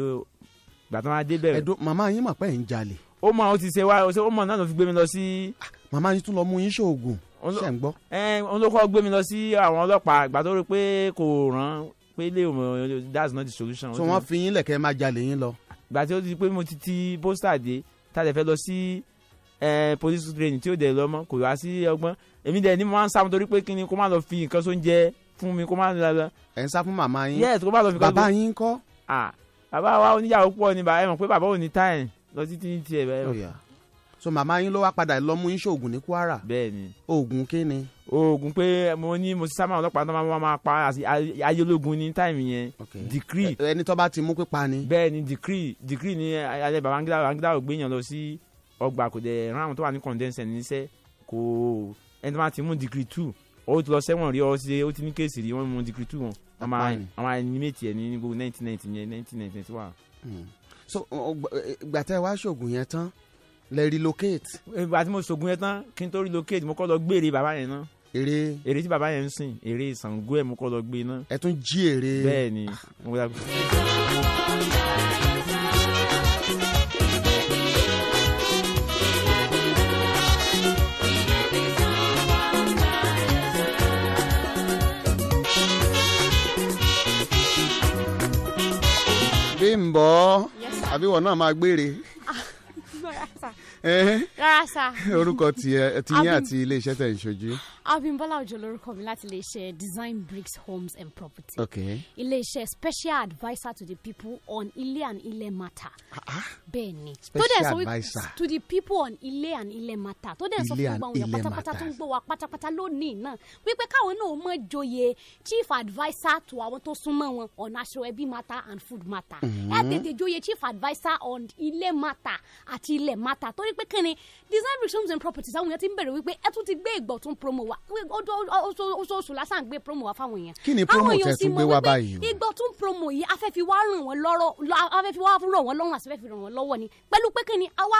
[SPEAKER 10] ìgbà tó máa dé bẹ̀rẹ̀.
[SPEAKER 3] ẹdùn màmá yín mà pé ẹ̀ ń jalè.
[SPEAKER 10] ó mọ ó ti ṣe wá ó mọ náà ló fi gbé mi lọ sí.
[SPEAKER 3] màmá yín tún lọ mú yín ṣoògùn ṣe ń gbọ́.
[SPEAKER 10] ẹ òun ló kọ́ gbé mi lọ sí àwọn ọlọ́pàá ìgbà tó rí pé kò rán pé lè mọ that's not the solution.
[SPEAKER 3] so wọ́n fi yín lẹ̀kẹ́ máa jalè yín lọ.
[SPEAKER 10] ìgbà tí ó di pé mo ti ti pósítà dé tá a lè fẹ́ lọ sí ẹ, police training tí ó dẹ̀ lọ mọ́ kò wá sí ọgbọ́n èmi dẹ̀ ni mo máa ń sá mo torí pé kí ni kó má lọ fi nǹkan sóúnjẹ fún mi kó má lọ
[SPEAKER 3] ẹ̀ ń sá fún màmá yín.
[SPEAKER 10] Yes, kó bá lọ fi
[SPEAKER 3] bàbá
[SPEAKER 10] kọ́-
[SPEAKER 3] yín kọ́.
[SPEAKER 10] ah bàbá wa oníyàwó pọ̀ ni bàbá ẹ mọ̀ pé bàbá ò ní táyìn lọ títí ní tiẹ̀ bẹ́ẹ̀.
[SPEAKER 3] Ó yá. so màmá yín ló wá padà lọ mú yín ṣoògùn ní Kwara.
[SPEAKER 10] bẹ́ẹ̀ni.
[SPEAKER 3] oògùn kíni.
[SPEAKER 10] oògùn pé mo ní mo ti sábà ọlọ́pàá tó máa wá máa pa àti ayélujágun ní táìmù yẹn. decree
[SPEAKER 3] ẹni tó bá ti mú pípa ni.
[SPEAKER 10] bẹ́ẹ̀ni decree decree ni alẹ́ bàbá angida angida ò gbéyàn lọ sí ọgbà kò dẹ̀ rán àwọn tó wà ní condensed níṣẹ́ kò ẹni tó máa ti mú decree two ó ti lọ sẹ́wọ̀n rí ọ sí ó ti ní kéèsì rí wọ́n mú decree two wọn wọ́n máa
[SPEAKER 3] Apáyìn.
[SPEAKER 10] wọ́n máa animate ẹ̀ ní gbogbo nineteen ninety yẹn nineteen ninety one.
[SPEAKER 3] Hmm. so e, ìgbà tẹ́ ẹ wá ṣoògùn yẹn tán lẹ relocate.
[SPEAKER 10] ìgbà tí mo ṣògùn yẹn tán kí n tó relocate mo kọ́ lọ gbére bàbá yẹn náà.
[SPEAKER 3] èrè
[SPEAKER 10] èrè tí bàbá yẹn ń sìn èrè Ṣàngó ẹ̀ mo kọ́ lọ gbé náà.
[SPEAKER 3] ẹ tún jí èrè.
[SPEAKER 10] bẹ́ẹ̀ ni mo dàgbà.
[SPEAKER 3] Bímbọ́ àbí wọn náà máa gbére. Eh,
[SPEAKER 13] rárá sá
[SPEAKER 3] orúkọ tiẹ̀ ti yín
[SPEAKER 13] Abim-
[SPEAKER 3] àti iléeṣẹ́ tẹ̀ ń ṣojú.
[SPEAKER 13] abimbola ojo lorúkọ mi láti iléeṣẹ́ design bricks homes and property
[SPEAKER 3] ok
[SPEAKER 13] iléeṣẹ́ special adviser to the people on ilé and ilé matter bẹ́ẹ̀ni
[SPEAKER 3] Special
[SPEAKER 13] dẹ̀ sọ wí-
[SPEAKER 3] adviser.
[SPEAKER 13] to the people on ilé and ilé matter tó dẹ̀ sọ
[SPEAKER 3] Ilé
[SPEAKER 13] fún
[SPEAKER 3] and
[SPEAKER 13] gbogbo àwọn èèyàn
[SPEAKER 3] ilé
[SPEAKER 13] pátápátá
[SPEAKER 3] matter.
[SPEAKER 13] tó ń gbọ́ wa pátápátá lónìí náà wípé káwọn náà mọ̀ joyè chief adviser to àwọn tó súnmọ́ wọn on aṣọ ẹbí matter and food matter
[SPEAKER 3] Mm-hmm.
[SPEAKER 14] Mhm.
[SPEAKER 13] ẹ tètè joyè chief adviser on ilé matter àti ilé matter torí pé kí ni design bricks homes and properties àwọn èèyàn ti ń bẹ̀rẹ̀ wípé ẹ tún ti gbé ìgbọ̀ tún promo wa Wí- ó- ó- ó- ó- oṣooṣù lásán gbé promo wa fáwọn èèyàn
[SPEAKER 3] Kí ni
[SPEAKER 13] àwọn
[SPEAKER 3] promo
[SPEAKER 13] èèyàn
[SPEAKER 3] tẹ́
[SPEAKER 13] ò sì
[SPEAKER 3] tún
[SPEAKER 13] mọ̀
[SPEAKER 3] gbé wá
[SPEAKER 13] wípé
[SPEAKER 3] báyìí o?
[SPEAKER 13] ìgbọ̀ tún promo yìí a fẹ́ fi wá ràn wọ́n lọ́rọ̀ lọ- a fẹ́ fi wá rọ̀ wọ́n lọ́rùn àti fẹ́ fi ràn wọ́n lọ́wọ́ ni pẹ̀lú pé kí ni a wá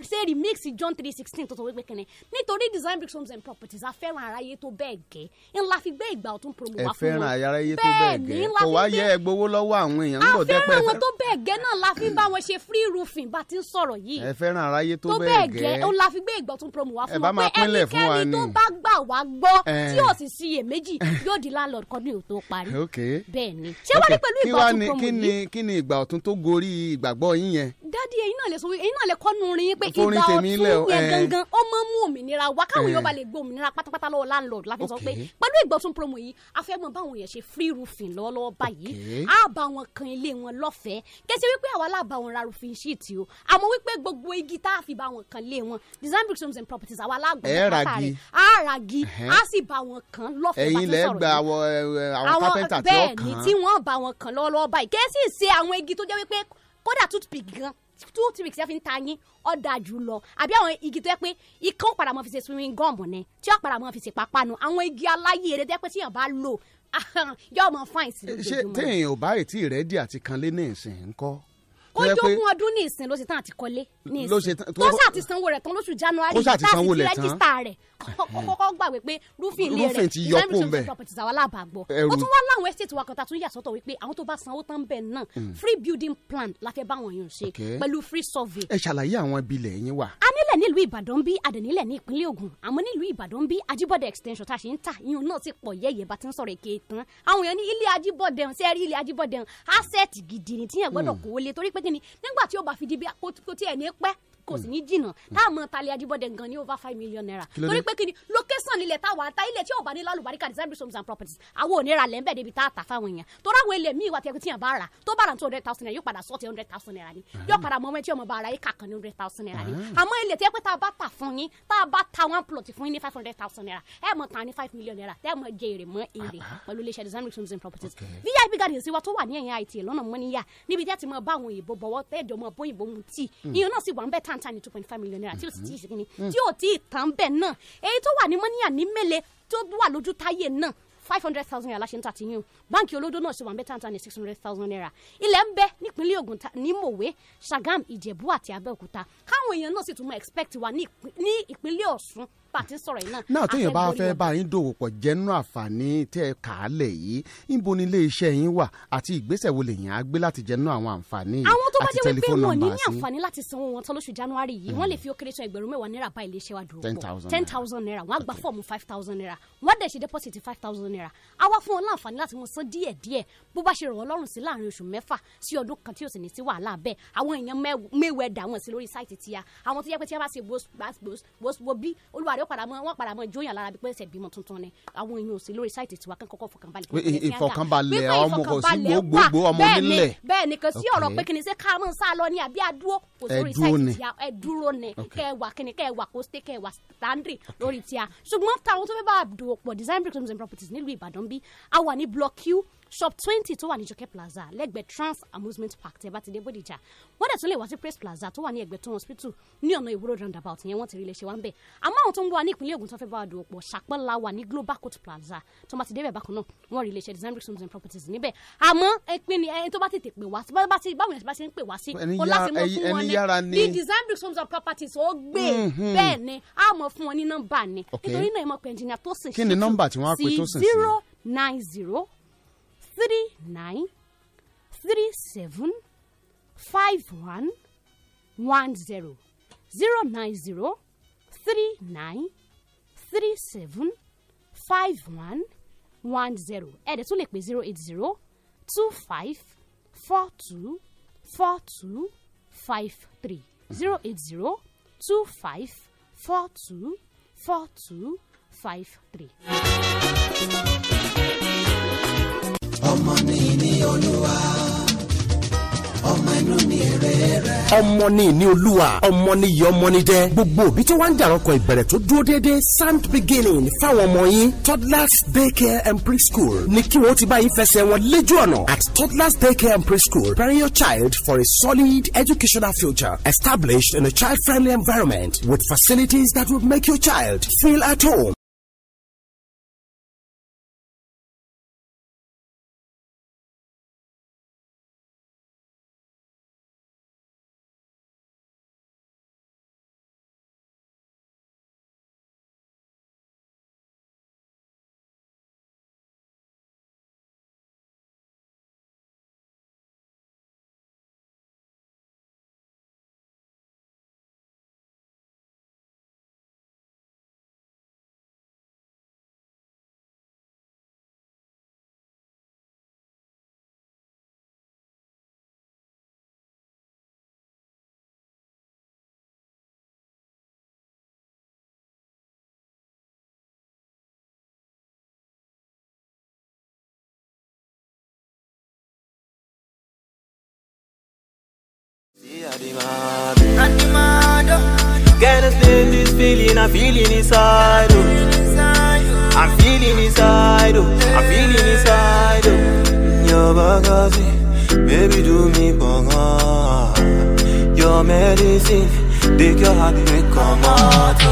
[SPEAKER 13] ṣe remix John three sixteen tó sọ wípé kí ni nítorí design bricks homes and properties a fẹ́ràn aráyé tó bẹ́ẹ̀ gẹ́ ńlá fi gbé ìgbà ọ̀tún promo
[SPEAKER 3] ẹ
[SPEAKER 13] wa fún
[SPEAKER 3] fẹ́ràn
[SPEAKER 13] wọn
[SPEAKER 3] ayára iye tó bẹ́ẹ̀
[SPEAKER 13] Bẹ́ẹ̀ ni,
[SPEAKER 3] gẹ́
[SPEAKER 13] ńlá
[SPEAKER 3] kò
[SPEAKER 13] fi
[SPEAKER 3] wá
[SPEAKER 13] gbé-
[SPEAKER 3] yẹ ẹ gbowó lọ́wọ́ àwọn èèyàn ń
[SPEAKER 13] a
[SPEAKER 3] bọ̀
[SPEAKER 13] fẹ́ràn
[SPEAKER 3] dẹ́pẹ́
[SPEAKER 13] wọn tó bẹ́ẹ̀ gẹ́ náà la fi ń bá wọn ṣe free roofing bá ti ń sọ̀rọ̀ yìí
[SPEAKER 3] ẹ fẹ́ràn ara iye tó
[SPEAKER 13] tó
[SPEAKER 3] bẹ́ẹ̀
[SPEAKER 13] bẹ́ẹ̀ gẹ́ ó
[SPEAKER 3] gẹ́
[SPEAKER 13] la fi gbé ìgbọ̀tún promo wá
[SPEAKER 3] Ẹ
[SPEAKER 13] fún
[SPEAKER 3] bá
[SPEAKER 13] wọn
[SPEAKER 3] máa
[SPEAKER 13] pé
[SPEAKER 3] pínlẹ̀ fún wa
[SPEAKER 13] ẹnikẹ́ni tó
[SPEAKER 3] ni.
[SPEAKER 13] bá gbà wá gbọ́
[SPEAKER 3] Eh.
[SPEAKER 13] tí ò sì ṣiyèméjì yóò di landlord kan ní òtó parí
[SPEAKER 3] ok
[SPEAKER 13] bẹ́ẹ̀ ni ṣé wọ́n ní pẹ̀lú
[SPEAKER 3] kí wá
[SPEAKER 13] ìgbọ̀tún
[SPEAKER 3] ni
[SPEAKER 13] promo
[SPEAKER 3] kí ni
[SPEAKER 13] yìí
[SPEAKER 3] kí ni ìgbà ọ̀tún tó gorí ìgbàgbọ́ yín yẹn
[SPEAKER 13] dádì ẹ̀yin náà lè sọ wí- ẹ̀yin náà lè kọ́nu rin yín pé
[SPEAKER 3] Forin
[SPEAKER 13] ìgbà
[SPEAKER 3] tèmi
[SPEAKER 13] ọ̀tún
[SPEAKER 3] lẹ̀ o,
[SPEAKER 13] yẹn
[SPEAKER 3] eh.
[SPEAKER 13] gangan ó máa ń mú òmìnira wá káwọn
[SPEAKER 3] Eh.
[SPEAKER 13] èèyàn bá lè gbé òmìnira pátápátá lọ́wọ́ landlord la fi sọ
[SPEAKER 14] Ok.
[SPEAKER 13] pé pẹ̀lú ìgbọ̀tún promo yìí a fẹ́ mọ báwọn èèyàn ṣe free roofing lọ́wọ́lọ́wọ́ báyìí
[SPEAKER 14] Ok.
[SPEAKER 13] á bá wọn kan ilé wọn lọ́fẹ̀ẹ́ kẹsí wípé àwa láà bá wọn ra roofing sheet o àmọ́ wípé gbogbo igi tá a fi bá wọn kan lé wọn design bricks homes and properties àwa láàgbọ̀n
[SPEAKER 3] Ẹ ra
[SPEAKER 13] pátá
[SPEAKER 3] igi.
[SPEAKER 13] rẹ̀ á ra gi
[SPEAKER 3] Ẹhẹ́.
[SPEAKER 13] á sì bá wọn kan lọ́fẹ̀ẹ́ bá ti
[SPEAKER 3] ẹ̀yin lẹ
[SPEAKER 13] sọ̀rọ̀
[SPEAKER 3] gba
[SPEAKER 13] yìí
[SPEAKER 3] àwọn ẹ, àwọn kápẹ́ntà tí ó
[SPEAKER 13] bẹ́ẹ̀
[SPEAKER 3] kàn
[SPEAKER 13] ni
[SPEAKER 3] án
[SPEAKER 13] tí wọ́n bá wọn kàn lọ́wọ́lọ́wọ́ báyìí kẹ́sì ṣe àwọn igi tó jẹ́ wípé kódà toothpick gan two three weeks ẹ fi ń ta yín ọ̀dà jù lọ àbí àwọn igi tó yẹ pé ikán padà mọ́ fi ṣe swimming gum ni tí wọ́n padà mọ́ fi ṣe pápánu àwọn igi aláyè eré tó yẹ pé tíyàn bá lò [LAUGHS] yóò mọ fáìn sí
[SPEAKER 3] Eh, ṣé téèyàn ò bá ètí rẹ́dí àti kanlé ní ìsìn ńkọ́
[SPEAKER 13] ó jókun ọdún ní ìsìn ló ṣe tán àti kọ́lé ní
[SPEAKER 3] ló ṣe
[SPEAKER 13] ìsìn
[SPEAKER 3] tán-
[SPEAKER 13] tó ṣáà ti sanwó rẹ̀ tán lóṣù january
[SPEAKER 3] Ó ṣáà ti
[SPEAKER 13] tá a sì
[SPEAKER 3] sanwó rẹ̀ tán.
[SPEAKER 13] rẹ́gísítà rẹ̀ kọ́kọ́ gbàgbé pé rúfin ilé rẹ̀
[SPEAKER 3] Roofing ti yọ
[SPEAKER 13] Islamic
[SPEAKER 3] kúrò
[SPEAKER 13] Resource
[SPEAKER 3] ńbẹ̀.
[SPEAKER 13] properties àwa lábàgbọ́
[SPEAKER 3] Ẹrù-
[SPEAKER 13] ó tún wá láwọn estate wa kan tá a tún yà sọ́tọ̀ wípé àwọn tó bá sanwó tán bẹ̀ náà
[SPEAKER 3] Mm.
[SPEAKER 13] free building plan la fẹ́ báwọn èèyàn ṣe
[SPEAKER 3] Okay.
[SPEAKER 13] pẹ̀lú free survey
[SPEAKER 3] ẹ ṣàlàyé àwọn ibi ilẹ̀ yín wà.
[SPEAKER 13] a nílẹ̀ nílùú ìbàdàn bí adẹ̀nílẹ̀ ní ìpínlẹ̀ ògùn àmọ́ nílùú ìbàdàn bí ajibode extension tá a ṣe ń tà ìyún náà ti pọ̀ yẹ́yẹ́ bá ti ń sọ̀rọ̀ èké tán àwọn èèyàn ní ilé ajibode ọ̀hún sẹ́ẹ̀rí ilé ajibode ọ̀hún asset gidi ni tíyẹn gbọ́dọ̀
[SPEAKER 14] Hmm.
[SPEAKER 13] kó wọlé torí pé kíni nígbà tí ó bá fi di bí kó kó tiẹ̀ ní pẹ́ kò sì ní jìnnà táàmù talẹ ajibode gan ni over five million naira
[SPEAKER 14] Kí ló dé?
[SPEAKER 13] torí pé kíni location ilẹ̀ táwa ta ilẹ̀ tí ò bá ní lálùbáríkà design homes and properties àwọn onira lẹ́ńbẹ̀ débi tá a tà fáwọn èèyàn torí àwọn ilẹ̀ míì wà tí ẹ ti yàn bá rà tó bá rà two hundred thousand naira yóò padà sọ́ọ̀tì hundred thousand naira ni yóò padà mọ ọmọ ẹ tí ọmọ bá rà yìí kà kan ní hundred thousand naira ni
[SPEAKER 14] Ah.
[SPEAKER 13] àmọ́ ilẹ̀ tí ẹ pé tá a bá tà fún yín tá a bá ta one plot fún yín ní five hundred thousand naira ẹ mọ̀ tán ní five million naira tẹ́ ẹ mọ̀ jẹ èrè mọ́ èrè pẹ̀lú iléeṣẹ́ design homes and properties vip garden sí wa tó wà ní ẹ̀yìn àìtì lọ́nà mọ́níyà níbi tí ẹ ti mọ bá àwọn òyìnbó bọ̀wọ́ tẹ́ ẹ̀jọ̀ mọ bóyìnbó mu tíì
[SPEAKER 3] Hmm.
[SPEAKER 14] Mm.
[SPEAKER 13] ìyẹn náà sì wà ń bẹ́ tàǹtà ní two point five million naira tí ó sì
[SPEAKER 14] Mhm.
[SPEAKER 13] tí ì ṣe kíni
[SPEAKER 14] Mm.
[SPEAKER 13] tí ò tí ì tán bẹ́ẹ̀ náà èyí tó wà ní mọ́níyà ní mẹ́lẹ̀ tó wà lójú táyé náà five hundred thousand naira láṣẹ ń tà tí yín o báǹkì olódó náà ṣe wà ń bẹ tàǹtà ní six hundred thousand naira ilẹ̀ ń bẹ nípínlẹ̀ Ògùn ta- ní mòwe Ṣàgámù Ìjẹ̀bú àti Abẹ́òkúta káwọn èèyàn náà sì tún mọ expect wa ní ìpín- ní ìpínlẹ̀ Ọ̀ṣun pàtí sọ̀rọ̀ yìí náà
[SPEAKER 3] náà téèyàn bá
[SPEAKER 13] àfẹ́gbórí
[SPEAKER 3] fẹ́
[SPEAKER 13] ọ̀dọ́.
[SPEAKER 3] bá yín dòwò pọ̀ jẹ́nu àǹfààní tẹ́ ẹ kà á lẹ̀ yìí níbo ni ilé iṣẹ́ yín wà àti ìgbésẹ̀ wo lèyìn á gbé láti jẹ́nu àwọn àǹfààní yìí
[SPEAKER 13] àwọn tó bá
[SPEAKER 3] àti
[SPEAKER 13] jẹ́ wípé
[SPEAKER 3] tẹlifóònù
[SPEAKER 13] wọn ò ní ní
[SPEAKER 3] nọ́mbà yín.
[SPEAKER 13] àǹfààní láti sanwó wọn tán lóṣù january yìí
[SPEAKER 3] Mm.
[SPEAKER 13] wọ́n lè fi ó kéré tán ẹgbẹ̀rún mẹ́wàá náírà bá ilé iṣẹ́ wa dúró
[SPEAKER 3] 10,000
[SPEAKER 13] ten thousand naira wọ́n á gba fọ́ọ̀mù five thousand naira wọ́n á dẹ̀ ṣe deposit five thousand naira á wá fún wọn láǹfààní láti wọn san díẹ̀ díẹ̀ bó bá ṣe rọ̀ wọ́n lọ́rùn sí láàrin oṣù mẹ́fà sí ọdún kan tí yóò sì ní sí wàhálà bẹ́ẹ̀ àwọn èèyàn mẹ́wẹ́ dà wọ́n sí lórí sáìtì tíya àwọn tó yẹ pé tí wọ́n bá ṣe gbòsgbò bí olúwarẹ̀ ó padà mọ́ wọ́n padà mọ́ jóyàn lára bí pé ẹsẹ̀ bímọ tuntun ni àwọn èèyàn ò sí lórí sáìtì tiwa kán kọ́kọ́ fọkànbalẹ̀
[SPEAKER 3] Wí-
[SPEAKER 13] kí wọ́n
[SPEAKER 3] ìfọkànbalẹ̀
[SPEAKER 13] fẹ́
[SPEAKER 3] ọmọ kò sí
[SPEAKER 13] ìfọkànbalẹ̀ wà.
[SPEAKER 3] gbogbogbò ọmọ
[SPEAKER 13] Bẹ́ẹ̀ ni,
[SPEAKER 3] onílẹ̀.
[SPEAKER 13] bẹ́ẹ̀ ni kò sí ọ̀rọ̀
[SPEAKER 3] Okay.
[SPEAKER 13] pé kìnìún ṣe ká mọ̀ sá lọ ní àbí àdúró kò
[SPEAKER 3] Ẹ
[SPEAKER 13] sórí
[SPEAKER 3] dúró ni.
[SPEAKER 13] sáìtì tí a ẹ dúró ni
[SPEAKER 3] Okay.
[SPEAKER 13] kẹ wà kìnìún kẹ wà kó stay kẹ wà standry lórí tí a ṣùgbọ́n táwọn tó fẹ́ bá dòwò pọ̀ design bricks homes and properties nílùú Ìbàdàn bí a wà ní block q shop twenty tó wà ní Jọkẹ́ plaza lẹ́gbẹ̀ẹ́ trans amusement park tẹ́ bá ti dé Bódìjà wọ́n dẹ̀ tún lè wá sí Praise plaza tó wà ní Ẹgbẹ̀tún hospital ní ọ̀nà ìwúrò roundabout yẹn wọ́n ti rí iléeṣẹ́ wa ń bẹ̀ àmọ́ àwọn tó ń wá ní ìpínlẹ̀ Ògùn tó fẹ́ bá wa dòwò pọ̀ ṣàpọ́nlá wà ní global court plaza tó bá ti débẹ̀ bákan náà wọ́n rí iléeṣẹ́ design bricks homes and properties níbẹ̀ àmọ́ ẹ pé ni ẹni tó bá tètè pè wá sí bá- bá ti báwọn èèyàn bá ṣe ń pè wá sí
[SPEAKER 3] Ẹni
[SPEAKER 13] ó láti mọ
[SPEAKER 3] yára-
[SPEAKER 13] fún
[SPEAKER 3] ẹni
[SPEAKER 13] wọn
[SPEAKER 3] yára
[SPEAKER 13] ní
[SPEAKER 3] ni.
[SPEAKER 13] bí design bricks homes and properties ó gbé
[SPEAKER 3] Mhm.
[SPEAKER 13] bẹ́ẹ̀ ni a mọ̀ fún wọn ní nọ́mbà ni
[SPEAKER 3] Okay.
[SPEAKER 13] nítorí náà ẹ mọ̀ pé engineer Tosin
[SPEAKER 3] Kí ni
[SPEAKER 13] Shitu
[SPEAKER 3] nọ́mbà tí wọ́n á pè
[SPEAKER 13] sí
[SPEAKER 3] Tosin sí?
[SPEAKER 13] zero nine zero three nine three seven five one one zero zero nine zero three nine three seven five one one zero ẹ̀ẹ́dẹ̀ tún lè pè zero eight zero two five four two four two five three zero eight zero two five four two four two five three.
[SPEAKER 15] ọmọ ni ìní olúwa ọmọ ni ìyá ọmọ ni jẹ gbogbo òbí tí wọn ń jàrọkọ ìbẹ̀rẹ̀ tó dúró déédéé sand beginning fáwọn ọmọ yín toddlers daycare and preschool ní kí wọn ó ti bá yín fẹsẹ̀ wọn lójú ọ̀nà at toddlers daycare and preschool preparing your child for a solid educational future established in a child-friendly environment with facilities that will make your child feel at home.
[SPEAKER 12] Gotta stand this feeling, I'm feeling inside. Oh. I'm feeling inside. Oh. I'm feeling inside. Oh. Your bagasi, baby, do me bonga. Your your medicine, take your heart break, come out.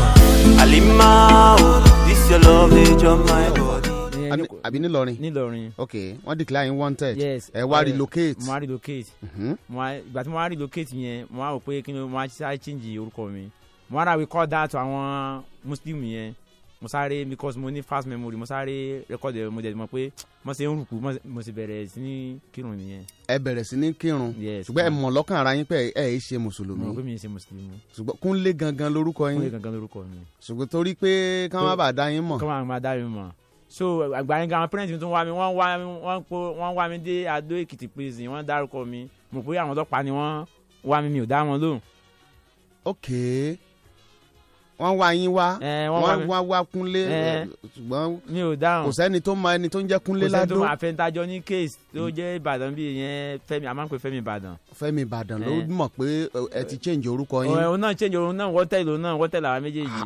[SPEAKER 12] Alima, oh, this your love, they jump my body.
[SPEAKER 3] Àbí- àbí nílọrin.
[SPEAKER 10] nílọrin.
[SPEAKER 3] ok wọ́n declare in wanted.
[SPEAKER 10] yes
[SPEAKER 3] ẹ wá
[SPEAKER 10] eh,
[SPEAKER 3] relocate.
[SPEAKER 10] mo wá relocate.
[SPEAKER 3] Mhm.
[SPEAKER 10] mo wá ìgbà tí mo wá relocate yẹn mo wá rò pé kí ni mo wá sáré change orúkọ mi mo wá ràwé call that to àwọn muslim yẹn mo sáré because mo ní fast memory mo sáré record ẹ mo dẹ̀ mọ̀ pé mo ṣe ń rùkú mo ṣe- mo sì bẹ̀rẹ̀ sí ní kírun nìyẹn.
[SPEAKER 3] ẹ bẹ̀rẹ̀ sí ní kírun ṣùgbọ́n ẹ mọ̀ lọ́kàn ara yín pé ẹ ẹ ṣe mùsùlùmí
[SPEAKER 10] mo rò pé mi ì ṣe mùsùlùmí.
[SPEAKER 3] ṣùgbọ́n kúnlé gangan lorúkọ yín
[SPEAKER 10] Kúnlé gangan lorúkọ mi.
[SPEAKER 3] ṣùgbọ́n torí pé ká má bàa dá yín mọ̀
[SPEAKER 10] kọ́ máa máa dá mi mọ̀ so àgbà yẹn gan àwọn parents mi tún wá mi wọ́n wá mi wọ́n kó wọ́n wá mi dé adó èkìtì prison wọ́n dárúkọ mi mo pé àwọn ọlọ́pàá ni wọ́n wá mi mi ò dá wọn lóhùn.
[SPEAKER 3] ok wọ́n wá yín wá
[SPEAKER 13] Eh,
[SPEAKER 10] wọ́n wá
[SPEAKER 3] wọ́n
[SPEAKER 10] mi-
[SPEAKER 3] wá wá kúnlé
[SPEAKER 10] Eh,
[SPEAKER 3] ṣùgbọ́n
[SPEAKER 10] mi ò dáhùn
[SPEAKER 3] kò sẹ́ni tó mọ ẹni tó ń jẹ́ kúnlé ládó
[SPEAKER 10] tó àfẹnitajọ ní case tó jẹ́ ìbàdàn bíi yẹn fẹ́mi a máa ń pè fẹ́mi ìbàdàn.
[SPEAKER 3] fẹ́mi ìbàdàn ló
[SPEAKER 10] Eh.
[SPEAKER 3] mọ̀ pé ẹ ti change orúkọ yín Ah,
[SPEAKER 10] òun náà change òun náà wọ́n tẹ̀lé òun náà wọ́n tẹ̀lé àwọn méjèèjì.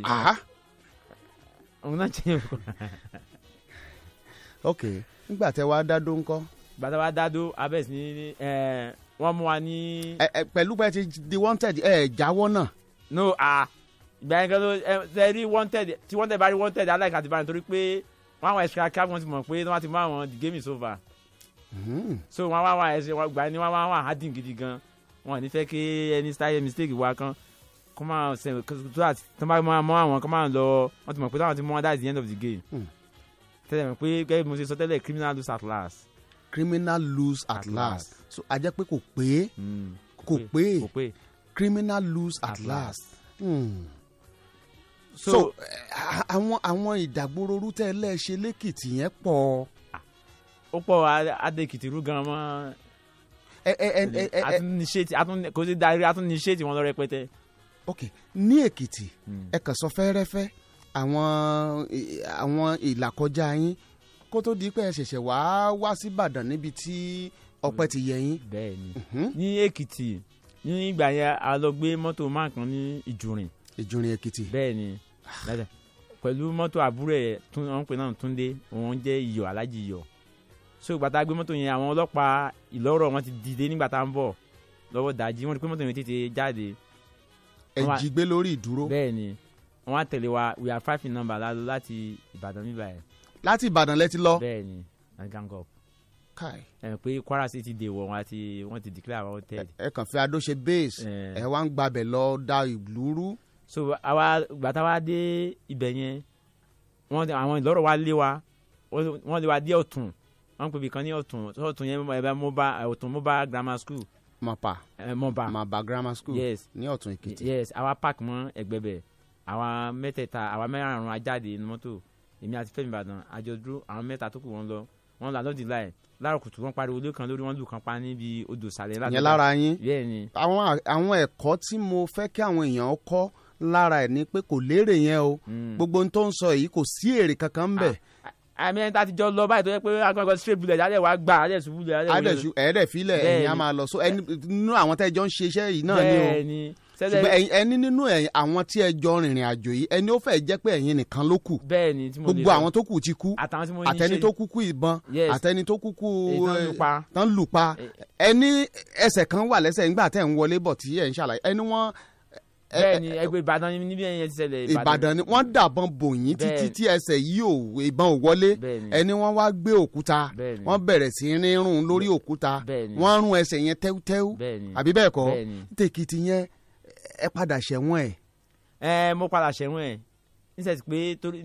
[SPEAKER 10] òun náà change [LAUGHS] orúkọ.
[SPEAKER 3] ok nígbà tẹ wá dádó ńkọ́
[SPEAKER 10] bàtà wa dádó abẹ́ sí ní ẹ̀, wọ́n mú wa ní.
[SPEAKER 3] ẹ ẹ pẹ̀lú pé ẹ ti di wanted ẹ ẹ jáwọ́ náà
[SPEAKER 10] no ah ìgbà yẹn kan ló ẹ ṣe rí wanted tí wanted bá rí wanted aláìka àti báyìí nítorí pé wọn àwọn extra cap wọn ti mọ̀ pé wọn ti mú àwọn the game is over
[SPEAKER 3] Hmm,
[SPEAKER 10] so wọn wá wá ẹsẹ wọn gbà ní wọn wá wá hardin gidi gan wọn ò ní fẹ́ kí ẹni style mistake wa kan kó máa ṣe tó àti tó bá máa mọ àwọn kó máa lọ wọn ti mọ̀ pé táwọn ti mọ wọn that's the end of the
[SPEAKER 3] Hmm.
[SPEAKER 10] game tẹ́lẹ̀ mọ̀ pé gẹ́gẹ́ bí mo ṣe sọ tẹ́lẹ̀ criminal lose at last.
[SPEAKER 3] criminal lose at, last. so a jẹ́ pé kò pé kò pé
[SPEAKER 10] Hmm. kò pé
[SPEAKER 3] criminal lose at, last. Hmm. so
[SPEAKER 10] So-
[SPEAKER 3] ẹ, a- àwọn àwọn ìdàgbòrorú tẹ́ ẹ lẹ́ẹ̀ṣẹ̀ lẹ́kìtì yẹn pọ̀
[SPEAKER 10] ó pọ̀ a- adékìtì rú gan mọ́.
[SPEAKER 3] ẹ ẹ ẹ ẹ ẹ ẹ
[SPEAKER 10] atúniṣẹ́tì atún kò sí darí atúniṣẹ́tì wọn lọ rẹpẹtẹ.
[SPEAKER 3] ok ní èkìtì
[SPEAKER 10] Hmm.
[SPEAKER 3] ẹ kàn sọ fẹ́rẹ́fẹ́ àwọn ì- àwọn ìlàkọjá yín kó tó di pé ẹ ṣẹ̀ṣẹ̀ wá wá sí ìbàdàn níbi tí ọpẹ
[SPEAKER 10] Hmm.
[SPEAKER 3] ti yẹ yín.
[SPEAKER 10] bẹ́ẹ̀ni ní èkìtì ní ìgbà yẹn a lọ gbé mọ́tò máa kan ní ìjùrìn.
[SPEAKER 3] ìjùrìn èkìtì.
[SPEAKER 10] bẹ́ẹ̀ni dada pẹ̀lú mọ́tò àbúrò ẹ̀ tún wọn pè náà túndé òun jẹ́ iyọ̀ alájí iyọ̀ so ìgbà tá a gbé mọ́tò yẹn àwọn ọlọ́pàá ìlọ́rọ̀ wọn ti dìde nígbà tá a ń bọ̀ lọ́wọ́ dàjí wọn rí pé mọ́tò yẹn tètè jáde.
[SPEAKER 3] ẹ
[SPEAKER 10] Wọn wá-
[SPEAKER 3] jí gbé lórí ìdúró.
[SPEAKER 10] bẹ́ẹ̀ni wọn á tẹ̀lé wa we are five in number la lọ láti ìbàdàn níbà yẹn.
[SPEAKER 3] láti ìbàdàn lẹ ti lọ.
[SPEAKER 10] bẹ́ẹ̀ni na gang up
[SPEAKER 3] káì
[SPEAKER 10] ẹ mọ̀ pé kwara city dey wọ wọn àti wọn ti declare àwọn hotel.
[SPEAKER 3] ẹ kàn fi adó ṣe base
[SPEAKER 10] Eh.
[SPEAKER 3] ẹ wá ń gbabẹ lọ da ìlú rú.
[SPEAKER 10] so àwa gbàtà wa dé ibẹ̀ yẹn wọ́n àwọn ìlọ́rọ̀ wa lé wa wọ́n wọ́n lé wa dé ọ̀tún wọ́n pè bìkan ní ọ̀tún so ọ̀tún yẹn ẹ̀ bá mobile ọ̀tún mobile grammar school
[SPEAKER 3] mọ̀pà
[SPEAKER 10] mọ̀bà
[SPEAKER 3] mọ̀bà grammar school
[SPEAKER 10] Ah. yes
[SPEAKER 3] ní ọ̀tún èkìtì.
[SPEAKER 10] yes àwa park mọ́ ẹgbẹ́ bẹ̀ àwa mẹ́tẹ̀ẹ̀ta àwa mẹ́rààrún ajáde ní mọ́tò èmi àti fẹ́mi ìbàdàn àjọ dúró àwọn mẹ́ta tó kù wọ́n lọ wọ́n lọ lọ́dún láì láàrọ̀ kùtù wọ́n pariwo olókan lórí wọ́n lù kan pa níbi odò sàlẹ̀
[SPEAKER 3] ìyẹn lára yín.
[SPEAKER 10] bẹ́ẹ̀ ni
[SPEAKER 3] àwọn à- àwọn ẹ̀kọ́ tí mo fẹ́ kí àwọn èèyàn kọ́ lára ẹ̀ ni pé kò lérè yẹn o
[SPEAKER 10] Hmm.
[SPEAKER 3] gbogbo ohun tó ń sọ yìí kò sí èrè kankan ń bẹ̀.
[SPEAKER 10] àmì ẹni tá a ti jọ lọ báyìí tó yẹ pé agbára straight bullet alẹ́ wàá gbà alẹ́ sùn bullet alẹ́ wọlé.
[SPEAKER 3] àdẹ̀sù ẹ̀ẹ́dẹ̀ filẹ̀
[SPEAKER 10] Bẹ́ẹ̀ni.
[SPEAKER 3] ẹ̀yìn á máa lọ so ẹni nínú àwọn tẹ́ ẹ jọ ń ṣe iṣẹ́ yìí náà ni o
[SPEAKER 10] Bẹ́ẹ̀ni. Sẹ́lẹ̀-
[SPEAKER 3] ṣùgbọ́n ẹ̀yin- ẹni nínú ẹ̀yin- àwọn tí ẹ jọ rìnrìn àjò yìí ẹni ó fẹ́ jẹ́ pé ẹ̀yin nìkan ló kù
[SPEAKER 10] bẹ́ẹ̀ni tí mo lè
[SPEAKER 3] gbogbo
[SPEAKER 10] sọ.
[SPEAKER 3] àwọn tó kù ti kú
[SPEAKER 10] àtàwọn tí mo ní
[SPEAKER 3] àtẹni
[SPEAKER 10] ṣe.
[SPEAKER 3] tó kúkú ìbọn
[SPEAKER 10] Yes.
[SPEAKER 3] àtẹni tó kúkú
[SPEAKER 10] Èyí tán lù pa.
[SPEAKER 3] tán lù pa ẹni ẹsẹ̀ kan wà lẹ́sẹ̀ nígbà tẹ̀ ń wọlé bọ̀ tí ẹ̀ ń ṣàlàyé ẹni wọ́n
[SPEAKER 10] bẹ́ẹ̀ni ẹgbẹ́ ìbàdàn ni níbi ẹ̀yẹ ti ṣẹlẹ̀
[SPEAKER 3] ìbàdàn ni wọ́n dàbọn bò yín títí
[SPEAKER 10] Bẹ́ẹ̀ni.
[SPEAKER 3] tí ẹsẹ̀ yìí ò ìbọn ò wọlé
[SPEAKER 10] Bẹ́ẹ̀ni.
[SPEAKER 3] ẹni wọ́n wá gbé òkúta
[SPEAKER 10] Bẹ́ẹ̀ni.
[SPEAKER 3] wọ́n bẹ̀rẹ̀ sí rírun lórí òkúta
[SPEAKER 10] Bẹ́ẹ̀ni.
[SPEAKER 3] wọ́n rún ẹsẹ̀ yẹn tẹ́wútẹ́wú
[SPEAKER 10] Bẹ́ẹ̀ni.
[SPEAKER 3] àbí bẹ́ẹ̀ kọ́
[SPEAKER 10] Bẹ́ẹ̀ni.
[SPEAKER 3] tèkìtì yẹn ẹ padà ṣẹ̀wọ̀n ẹ̀.
[SPEAKER 10] ẹ mo padà ṣẹ̀wọ̀n ẹ̀ níṣẹ́ ti pé torí